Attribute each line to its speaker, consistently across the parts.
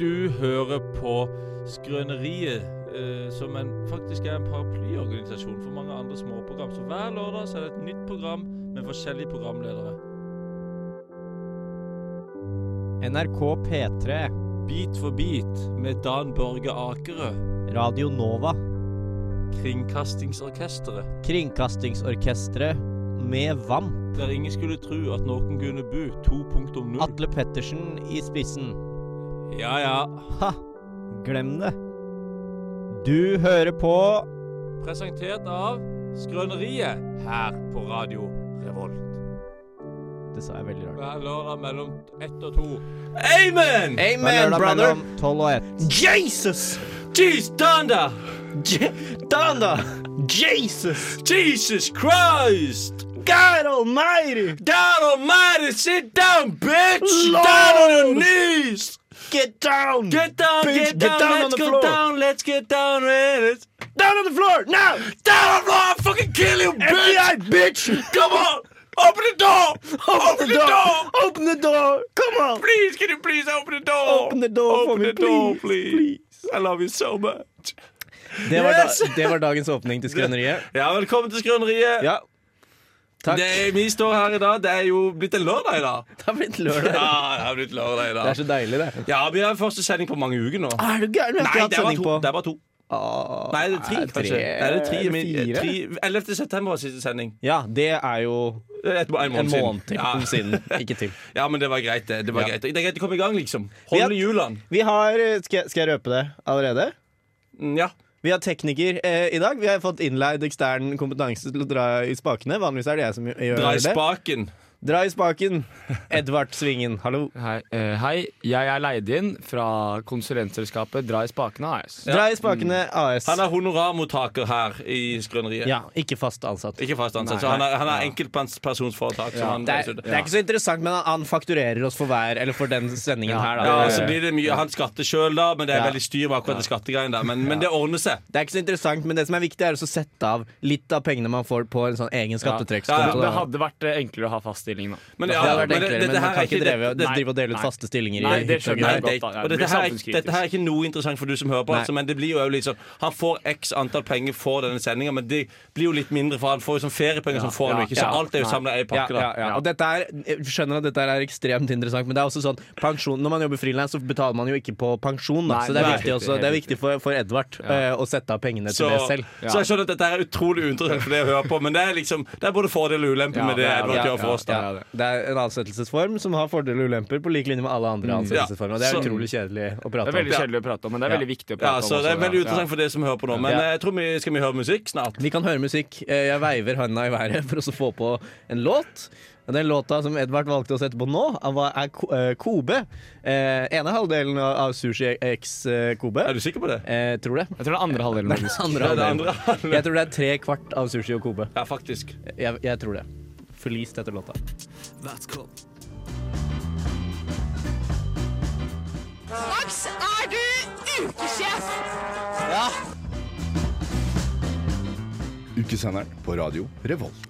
Speaker 1: Du hører på Skrøneriet, eh, som en, faktisk er en paraplyorganisasjon for mange andre småprogram. Så hver lørdag så er det et nytt program med forskjellige programledere.
Speaker 2: NRK P3,
Speaker 1: Bit for bit med Dan Børge Akerø,
Speaker 2: Radio Nova,
Speaker 1: Kringkastingsorkesteret.
Speaker 2: Kringkastingsorkestret med VAMP,
Speaker 1: Der ingen skulle tro at noen kunne bo 2.0.
Speaker 2: Atle Pettersen i spissen.
Speaker 1: Ja ja.
Speaker 2: Ha! Glem det. Du hører på
Speaker 1: Presentert av Skrøneriet her på Radio Revolt.
Speaker 2: Det sa jeg veldig rart.
Speaker 1: Hver lørdag mellom ett og to.
Speaker 3: Amen!
Speaker 2: Hver
Speaker 3: Amen,
Speaker 2: lørdag
Speaker 3: brother!
Speaker 2: mellom 12 og 1.
Speaker 3: Jesus!
Speaker 1: Jeez, Danda!
Speaker 3: Je Danda! Jesus!
Speaker 1: Jesus Christ!
Speaker 3: God almighty!
Speaker 1: God almighty, sit down, bitch!
Speaker 3: Lord.
Speaker 1: Down on your knees!
Speaker 3: Get down!
Speaker 1: Get down,
Speaker 3: Bitch,
Speaker 1: get down, let's get down, let's get down, man. It's
Speaker 3: Down on the floor! Now!
Speaker 1: down on the floor, I'll fucking kill you, bitch!
Speaker 3: FBI, bitch!
Speaker 1: Come on! Open the door! Open, the, door.
Speaker 3: Open the door! Come on!
Speaker 1: Please, can you please open the door?
Speaker 3: Open the door
Speaker 1: open
Speaker 3: for me,
Speaker 1: the door,
Speaker 3: please,
Speaker 1: I love you so much.
Speaker 2: Det var,
Speaker 1: Yes!
Speaker 2: da, det var dagens åpning til Skrøneriet.
Speaker 1: Ja, velkommen til Skrøneriet.
Speaker 2: Ja. Takk.
Speaker 1: Det er, vi står her i dag. Det er jo blitt en lørdag i dag.
Speaker 2: Det har blitt lørdag.
Speaker 1: Ja, det har blitt lørdag i
Speaker 2: Det er
Speaker 1: dag.
Speaker 2: så deilig, det.
Speaker 1: Ja, vi har første sending på mange uker nå.
Speaker 2: Ah, Er du gæren? Vi har
Speaker 1: Nei,
Speaker 2: ikke hatt
Speaker 1: det var
Speaker 2: sending
Speaker 1: to.
Speaker 2: på
Speaker 1: Det var to.
Speaker 2: Åh,
Speaker 1: Nei, det er tre,
Speaker 2: er det
Speaker 1: kanskje.
Speaker 2: tre
Speaker 1: Nei, det er tre,
Speaker 2: eller
Speaker 1: min,
Speaker 2: fire?
Speaker 1: tre- 11. september var siste sending. Eh,
Speaker 2: Ja, det er jo
Speaker 1: Et, en
Speaker 2: en
Speaker 1: måned
Speaker 2: måned til
Speaker 1: Ja.
Speaker 2: siden. Ikke til.
Speaker 1: ja, men det var greit. Det, det var
Speaker 2: Ja.
Speaker 1: greit Det er greit å komme i gang, liksom.
Speaker 2: Vi har-
Speaker 1: Holde hjulene.
Speaker 2: Vi har eh, Skal jeg, skal jeg røpe det allerede?
Speaker 1: Mm, Ja.
Speaker 2: Vi har tekniker eh, i dag. Vi har fått innleid ekstern kompetanse til å dra i spakene. Vanligvis er det jeg som gjør
Speaker 1: Dra i
Speaker 2: det.
Speaker 1: spaken.
Speaker 2: Dra i spaken. Edvard Svingen, hallo.
Speaker 4: Hei, eh, hei, jeg er leid inn fra konsulentselskapet Dra i spakene AS.
Speaker 2: Dra i spakene AS.
Speaker 1: Han er honorarmottaker her i Skrøneriet.
Speaker 2: Ja, ikke fast ansatt.
Speaker 1: Ikke fast ansatt.
Speaker 4: Nei.
Speaker 1: så han er, han er enkeltpersonsforetak. så han-
Speaker 2: Det er, det er ikke så interessant, men han, han fakturerer oss for hver Eller for den sendingen
Speaker 4: Ja.
Speaker 2: her, da.
Speaker 1: ja, så blir det mye Han skatter sjøl, da, men det er
Speaker 2: Ja.
Speaker 1: veldig styr med akkurat det skattegreiene der. Men, men det ordner seg.
Speaker 2: Det er ikke så interessant, men det som er viktig, er også å sette av litt av pengene man får på en sånn egen
Speaker 1: Ja, ja,
Speaker 2: skattetrekkskonto.
Speaker 4: Det
Speaker 2: da.
Speaker 4: hadde vært eh, enklere å ha fast stilling, da.
Speaker 1: Men,
Speaker 2: det
Speaker 1: ja,
Speaker 2: hadde vært
Speaker 1: men det- det-
Speaker 2: enklere, men,
Speaker 1: det her
Speaker 2: man
Speaker 1: er
Speaker 2: kan
Speaker 1: ikke-
Speaker 2: ikke dreve,
Speaker 1: det-
Speaker 4: nei,
Speaker 2: drive og dele ut
Speaker 4: nei.
Speaker 2: faste stillinger
Speaker 4: Nei,
Speaker 2: i
Speaker 4: det
Speaker 2: hytte og
Speaker 4: skjønner
Speaker 1: Nei,
Speaker 2: greier.
Speaker 4: jeg.
Speaker 1: det,
Speaker 4: godt, da. Ja,
Speaker 1: og dette,
Speaker 4: det blir
Speaker 1: her er,
Speaker 4: samfunnskritisk.
Speaker 1: dette her er ikke noe interessant for du som hører på,
Speaker 2: Nei.
Speaker 1: altså, men det blir jo litt sånn Han får x antall penger for denne sendinga, men det blir jo litt mindre, for han får jo sånn feriepenger som får han
Speaker 4: ja,
Speaker 1: jo ikke. Så
Speaker 4: ja.
Speaker 1: alt er jo
Speaker 4: Nei.
Speaker 1: samla i ei
Speaker 2: Ja,
Speaker 1: pakke, da.
Speaker 2: ja, ja.
Speaker 4: Ja.
Speaker 2: Og dette er, jeg skjønner at dette er ekstremt interessant, men det er også sånn pensjon, når man jobber frilans, så betaler man jo ikke på pensjon. Da.
Speaker 4: Nei,
Speaker 2: så det er
Speaker 1: nei.
Speaker 2: viktig, også, det er viktig for, for Edvard eh, å sette av pengene
Speaker 1: Så,
Speaker 2: til det selv.
Speaker 4: Ja.
Speaker 1: så jeg skjønner at dette her er utrolig uinteressant for det å høre på, men det er liksom Det er både fordel og ulempe
Speaker 4: Ja,
Speaker 1: med det
Speaker 4: det er
Speaker 1: Edvard
Speaker 4: det.
Speaker 1: gjør for oss, da.
Speaker 2: Ja, det er en ansettelsesform som har fordeler og ulemper, på lik linje med alle andre ansettelsesformer. Og det er
Speaker 1: Så-
Speaker 2: utrolig kjedelig å
Speaker 4: Det
Speaker 2: prate
Speaker 4: er veldig
Speaker 2: om.
Speaker 4: kjedelig å prate om, men det er
Speaker 2: Ja.
Speaker 4: veldig viktig å
Speaker 1: Ja,
Speaker 4: prate om.
Speaker 1: så
Speaker 4: også,
Speaker 1: det er veldig
Speaker 4: ja.
Speaker 1: uteressant for det som hører på nå. Men
Speaker 2: Ja.
Speaker 1: eh, jeg tror vi skal vi høre musikk snart.
Speaker 2: Vi kan høre musikk. Eh, Jeg veiver handa i været for å så få på en låt. Og Den låta som Edvard valgte å sette på nå, av hva er Ko- eh, Kobe. Eh, ene halvdelen av av Sushi X eh, Kobe.
Speaker 1: Er du sikker på det?
Speaker 2: Eh, tror det.
Speaker 4: Jeg tror det er andre halvdelen.
Speaker 2: Den
Speaker 4: faktisk.
Speaker 2: andre
Speaker 1: Det er det
Speaker 2: halvdelen.
Speaker 1: andre.
Speaker 2: Jeg tror det er tre kvart av Sushi og Kobe.
Speaker 1: Ja, faktisk.
Speaker 2: Jeg, jeg tror det. Forlist etter låta.
Speaker 5: Max, er du ukesjef?
Speaker 6: Ukesenderen på radio Revolt.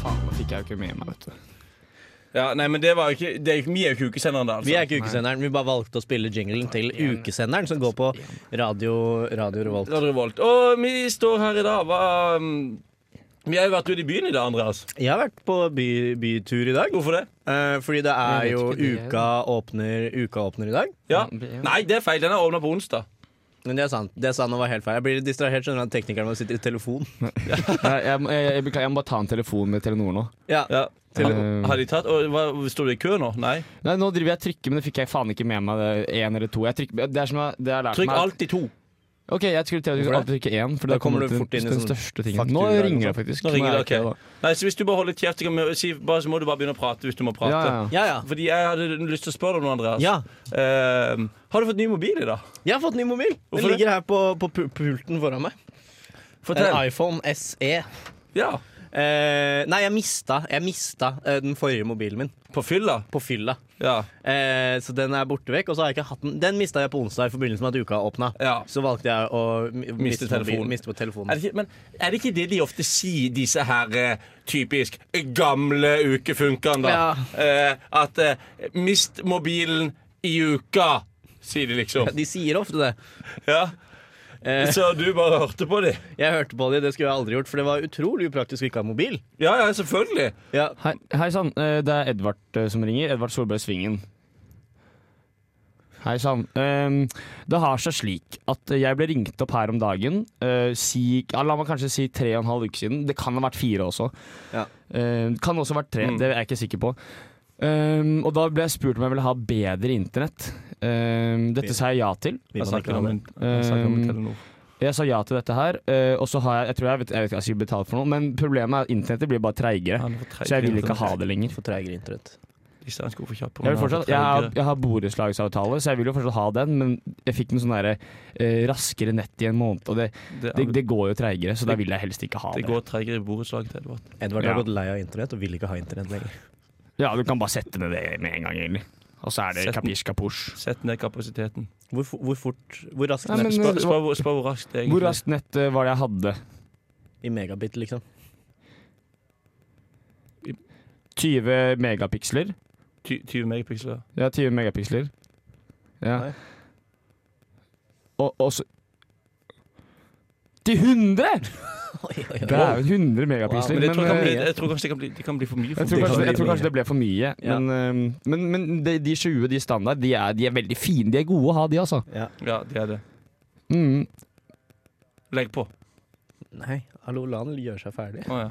Speaker 4: Faen, det fikk jeg jo ikke med meg, vet du.
Speaker 1: Ja, nei, men det var jo ikke det er, jo ikke- Vi er jo ikke ukesenderen der, altså.
Speaker 2: Vi er ikke ukesenderen, vi bare valgte å spille jinglen til ukesenderen, som går på radio, radio Revolt.
Speaker 1: Radio Revolt. Og vi står her i dag. Hva, um, vi har jo vært ute i byen i dag, Andreas.
Speaker 2: Jeg har vært på by, bytur i dag.
Speaker 1: Hvorfor det?
Speaker 2: Eh, fordi det er
Speaker 4: Jeg vet
Speaker 2: jo
Speaker 4: ikke det, jeg.
Speaker 2: uka åpner, uka åpner i dag.
Speaker 1: Ja.
Speaker 4: Ja.
Speaker 1: Nei, det er feil. Den er åpna på onsdag.
Speaker 2: Men det er sant. Det sa han var helt feil. Jeg blir distrahert skjønner du, at teknikeren vår sitter i telefon.
Speaker 4: Jeg, jeg, må- jeg, jeg, beklager, jeg må bare ta en telefon med Telenor nå.
Speaker 2: Ja,
Speaker 1: Ja. Til,
Speaker 4: Eh.
Speaker 1: har de tatt og, hva, Står du i kø nå? Nei.
Speaker 4: Nei, Nå driver jeg og trykker, men det fikk jeg faen ikke med meg. det Én eller to. Jeg trykker, det er som jeg, det jeg har lært
Speaker 1: Trykk
Speaker 4: meg.
Speaker 1: alltid to.
Speaker 4: Ok, jeg skulle til
Speaker 2: Hvorfor
Speaker 4: å trykke én, for
Speaker 2: Da
Speaker 4: da
Speaker 2: kommer
Speaker 4: kommer
Speaker 2: du
Speaker 4: du
Speaker 2: fort
Speaker 4: fort
Speaker 2: inn i
Speaker 4: den
Speaker 2: sånn
Speaker 4: største tingen. Nå
Speaker 2: fakturaer og
Speaker 4: ringer det
Speaker 2: sånn.
Speaker 4: faktisk.
Speaker 1: Nå ringer
Speaker 4: er
Speaker 1: det,
Speaker 4: jeg
Speaker 1: ok.
Speaker 4: ikke
Speaker 1: Nei, så Hvis du bare holder kjeft, så kan vi si, bare, så må du bare begynne å prate hvis du må
Speaker 4: da.
Speaker 1: prate.
Speaker 4: Ja, ja.
Speaker 2: ja. ja.
Speaker 1: Fordi jeg hadde lyst til å spørre deg om noe, Andreas.
Speaker 2: ja.
Speaker 1: Eh, har du fått ny mobil i dag?
Speaker 2: Jeg har fått ny mobil. Den
Speaker 1: Hvorfor det?
Speaker 2: ligger her på, på pu- pulten foran meg. En
Speaker 1: Fortell.
Speaker 2: iPhone SE.
Speaker 1: Eh, Ja.
Speaker 2: Eh, nei, jeg mista, jeg mista eh, den forrige mobilen min
Speaker 1: På fylla?
Speaker 2: på fylla.
Speaker 1: Ja.
Speaker 2: Eh, så den er borte vekk. Og så har jeg ikke hatt den Den mista jeg på onsdag i forbindelse med at uka åpna.
Speaker 1: ja.
Speaker 2: Så valgte jeg å mi- miste,
Speaker 1: telefonen.
Speaker 2: mobilen- miste på
Speaker 1: Er
Speaker 2: telefonen.
Speaker 1: det ikke, men er det ikke det de ofte sier, disse her eh, typisk eh, gamle ukefunkene, da? Eh, at eh, mist mobilen i uka, Sier de liksom.
Speaker 2: De sier ofte det.
Speaker 1: Ja.
Speaker 2: Eh,
Speaker 1: Så du bare hørte på de?
Speaker 2: jeg hørte på det, det skulle jeg aldri gjort, for det var utrolig upraktisk å ikke ha mobil.
Speaker 1: Ja, ja, selvfølgelig.
Speaker 2: Ja,
Speaker 4: Hei, hei sann, eh, det er Edvard eh, som ringer. Edvard Solberg Svingen. Hei sann. Ehm, Det har seg slik at jeg ble ringt opp her om dagen. eh, Si, ja, la meg kanskje si tre og en halv uke siden. Det kan ha vært fire også.
Speaker 2: Ja.
Speaker 4: Eh, det kan også ha vært tre,
Speaker 1: Mm.
Speaker 4: det er jeg ikke sikker på. Ehm, og da ble jeg spurt om jeg ville ha bedre internett. Ehm, dette sa jeg ja til.
Speaker 2: vil man ikke ha det.
Speaker 4: jeg snakker
Speaker 1: Eh,
Speaker 4: om Telenor. Jeg sa ja til dette her, eh, og så har jeg Jeg tror jeg vet, jeg vet ikke, jeg skal betale for noe, men problemet er at internettet blir bare treigere. Så jeg vil ikke ha det lenger.
Speaker 2: For treigere internett.
Speaker 4: Jeg, vil fortsatt, jeg, har, jeg har borettslagsavtale, så jeg vil jo fortsatt ha den, men jeg fikk den sånn derre eh, raskere nett i en måned, og det, det, det går jo treigere, så da vil jeg helst ikke ha det.
Speaker 1: treigere i borettslaget til Edvard.
Speaker 2: Edvard
Speaker 4: Ja.
Speaker 2: har gått lei av internett og vil ikke ha internett lenger.
Speaker 4: Ja, du kan bare sette ned det med en gang, egentlig. Og så er det
Speaker 1: Sett den.
Speaker 4: kapisj kaposj.
Speaker 1: Sett ned kapasiteten.
Speaker 2: Hvor, fo- hvor fort Hvor raskt
Speaker 4: Nei, men,
Speaker 2: nett-
Speaker 4: Spør- spør
Speaker 1: hvor raskt det
Speaker 4: Hvor raskt nett eh, var det jeg hadde?
Speaker 2: I megabit, liksom.
Speaker 4: 20 megapiksler?
Speaker 1: 20 megapiksler.
Speaker 4: Ja, 20 megapiksler. Ja.
Speaker 2: Nei.
Speaker 4: Og, og så Til 100!
Speaker 2: Oi, oi, oi.
Speaker 4: Det er jo 100
Speaker 2: Wow,
Speaker 4: megapiksler.
Speaker 1: Men jeg tror, det kan
Speaker 4: eh,
Speaker 1: bli, jeg tror kanskje det kan bli, det kan bli for mye. For
Speaker 4: Jeg tror,
Speaker 1: meg.
Speaker 2: Det
Speaker 4: kanskje,
Speaker 2: kan
Speaker 4: jeg
Speaker 2: bli
Speaker 4: tror kanskje
Speaker 2: mye.
Speaker 4: det ble for mye,
Speaker 2: Ja.
Speaker 4: men, øhm, men, men de, de 20, de standard, de er, de er veldig fine. De er gode å ha, de, altså.
Speaker 1: Ja, det er det.
Speaker 4: Mm.
Speaker 1: Legg på.
Speaker 2: Nei, hallo, la han gjøre seg ferdig.
Speaker 1: Å ja.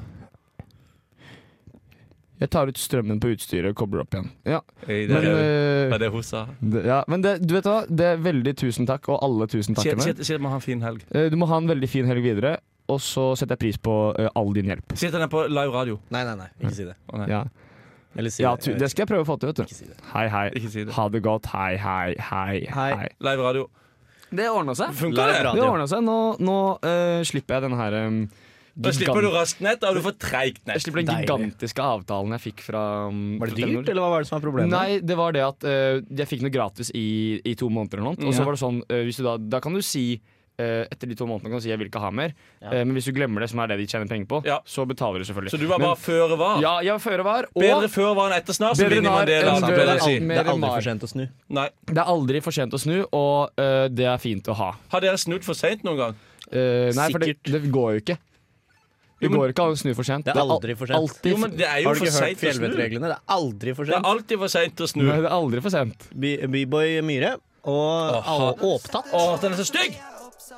Speaker 4: Jeg tar ut strømmen på utstyret og kobler opp igjen. Ja,
Speaker 1: Hey,
Speaker 4: men,
Speaker 1: det,
Speaker 2: eh,
Speaker 4: øh,
Speaker 1: var det hun sa.
Speaker 4: det, ja, men det, du vet hva, det er veldig tusen takk, og alle tusen
Speaker 1: Si
Speaker 4: takkene.
Speaker 1: si- si at man har en fin helg.
Speaker 4: Eh, Du må ha en veldig fin helg videre, og så setter jeg pris på øh, all din hjelp.
Speaker 1: Si at den er på live radio.
Speaker 2: Nei, nei, nei, ikke si det.
Speaker 1: Å nei,
Speaker 4: Ja,
Speaker 2: Eller si
Speaker 4: ja
Speaker 2: det.
Speaker 4: tu,
Speaker 2: Jeg
Speaker 4: det
Speaker 2: vet
Speaker 4: skal jeg prøve å få til, vet
Speaker 2: ikke.
Speaker 4: du.
Speaker 2: Ikke si det.
Speaker 4: Hei, hei.
Speaker 1: ikke si det.
Speaker 4: Ha det godt. Hei, hei, hei,
Speaker 2: Hei.
Speaker 4: hei.
Speaker 1: Live radio.
Speaker 4: Det ordna seg.
Speaker 1: Funker
Speaker 2: Live
Speaker 1: det?
Speaker 4: Det
Speaker 2: radio.
Speaker 4: ordna seg. Nå, nå øh, slipper jeg den her øhm,
Speaker 1: Da slipper du
Speaker 4: gigant-
Speaker 1: raskt nett. Da har du for treigt nett.
Speaker 4: Jeg slipper den
Speaker 2: Deilig.
Speaker 4: gigantiske avtalen jeg fikk fra um,
Speaker 2: Var det
Speaker 4: fra Telenor.
Speaker 2: dyrt, eller hva var det som var problemet?
Speaker 4: Nei, det var det at eh, jeg fikk noe gratis i, i to måneder eller noe. Og så
Speaker 1: Ja.
Speaker 4: var det sånn, eh, hvis du da, da kan du si eh, etter de to månedene kan du si jeg vil ikke ha mer. Eh, men hvis du glemmer det, som er det de tjener penger på,
Speaker 1: Ja.
Speaker 4: så betaler du selvfølgelig.
Speaker 1: Så du var bare føre var?
Speaker 4: Ja, jeg var føre var. Og
Speaker 1: Bedre før var enn etter snart, som
Speaker 4: Bedre
Speaker 1: Vinni
Speaker 4: nar
Speaker 1: Mandela
Speaker 4: enn
Speaker 1: sa, pleier
Speaker 4: død.
Speaker 1: jeg å si.
Speaker 2: Det er aldri for sent å snu.
Speaker 1: Nei.
Speaker 4: det er aldri for sent å snu, og eh, det er fint å ha.
Speaker 1: Har dere snudd for seint noen gang?
Speaker 4: Eh, nei, for det, det går jo ikke. Det
Speaker 1: Jo, men-
Speaker 4: går ikke an å snu for sent.
Speaker 2: Det er aldri for sent.
Speaker 4: Alltid,
Speaker 1: Jo, men det er jo
Speaker 2: Har du
Speaker 1: for
Speaker 2: ikke hørt
Speaker 1: seint å snu. Det
Speaker 2: fjellvettreglene? Det er aldri for
Speaker 1: er
Speaker 2: sent.
Speaker 1: alltid for seint å snu.
Speaker 4: nei, det er aldri for sent.
Speaker 2: By- Byboy Myhre og
Speaker 1: Åh,
Speaker 2: Al- Åptatt.
Speaker 1: Å, den er så stygg!
Speaker 7: Oh,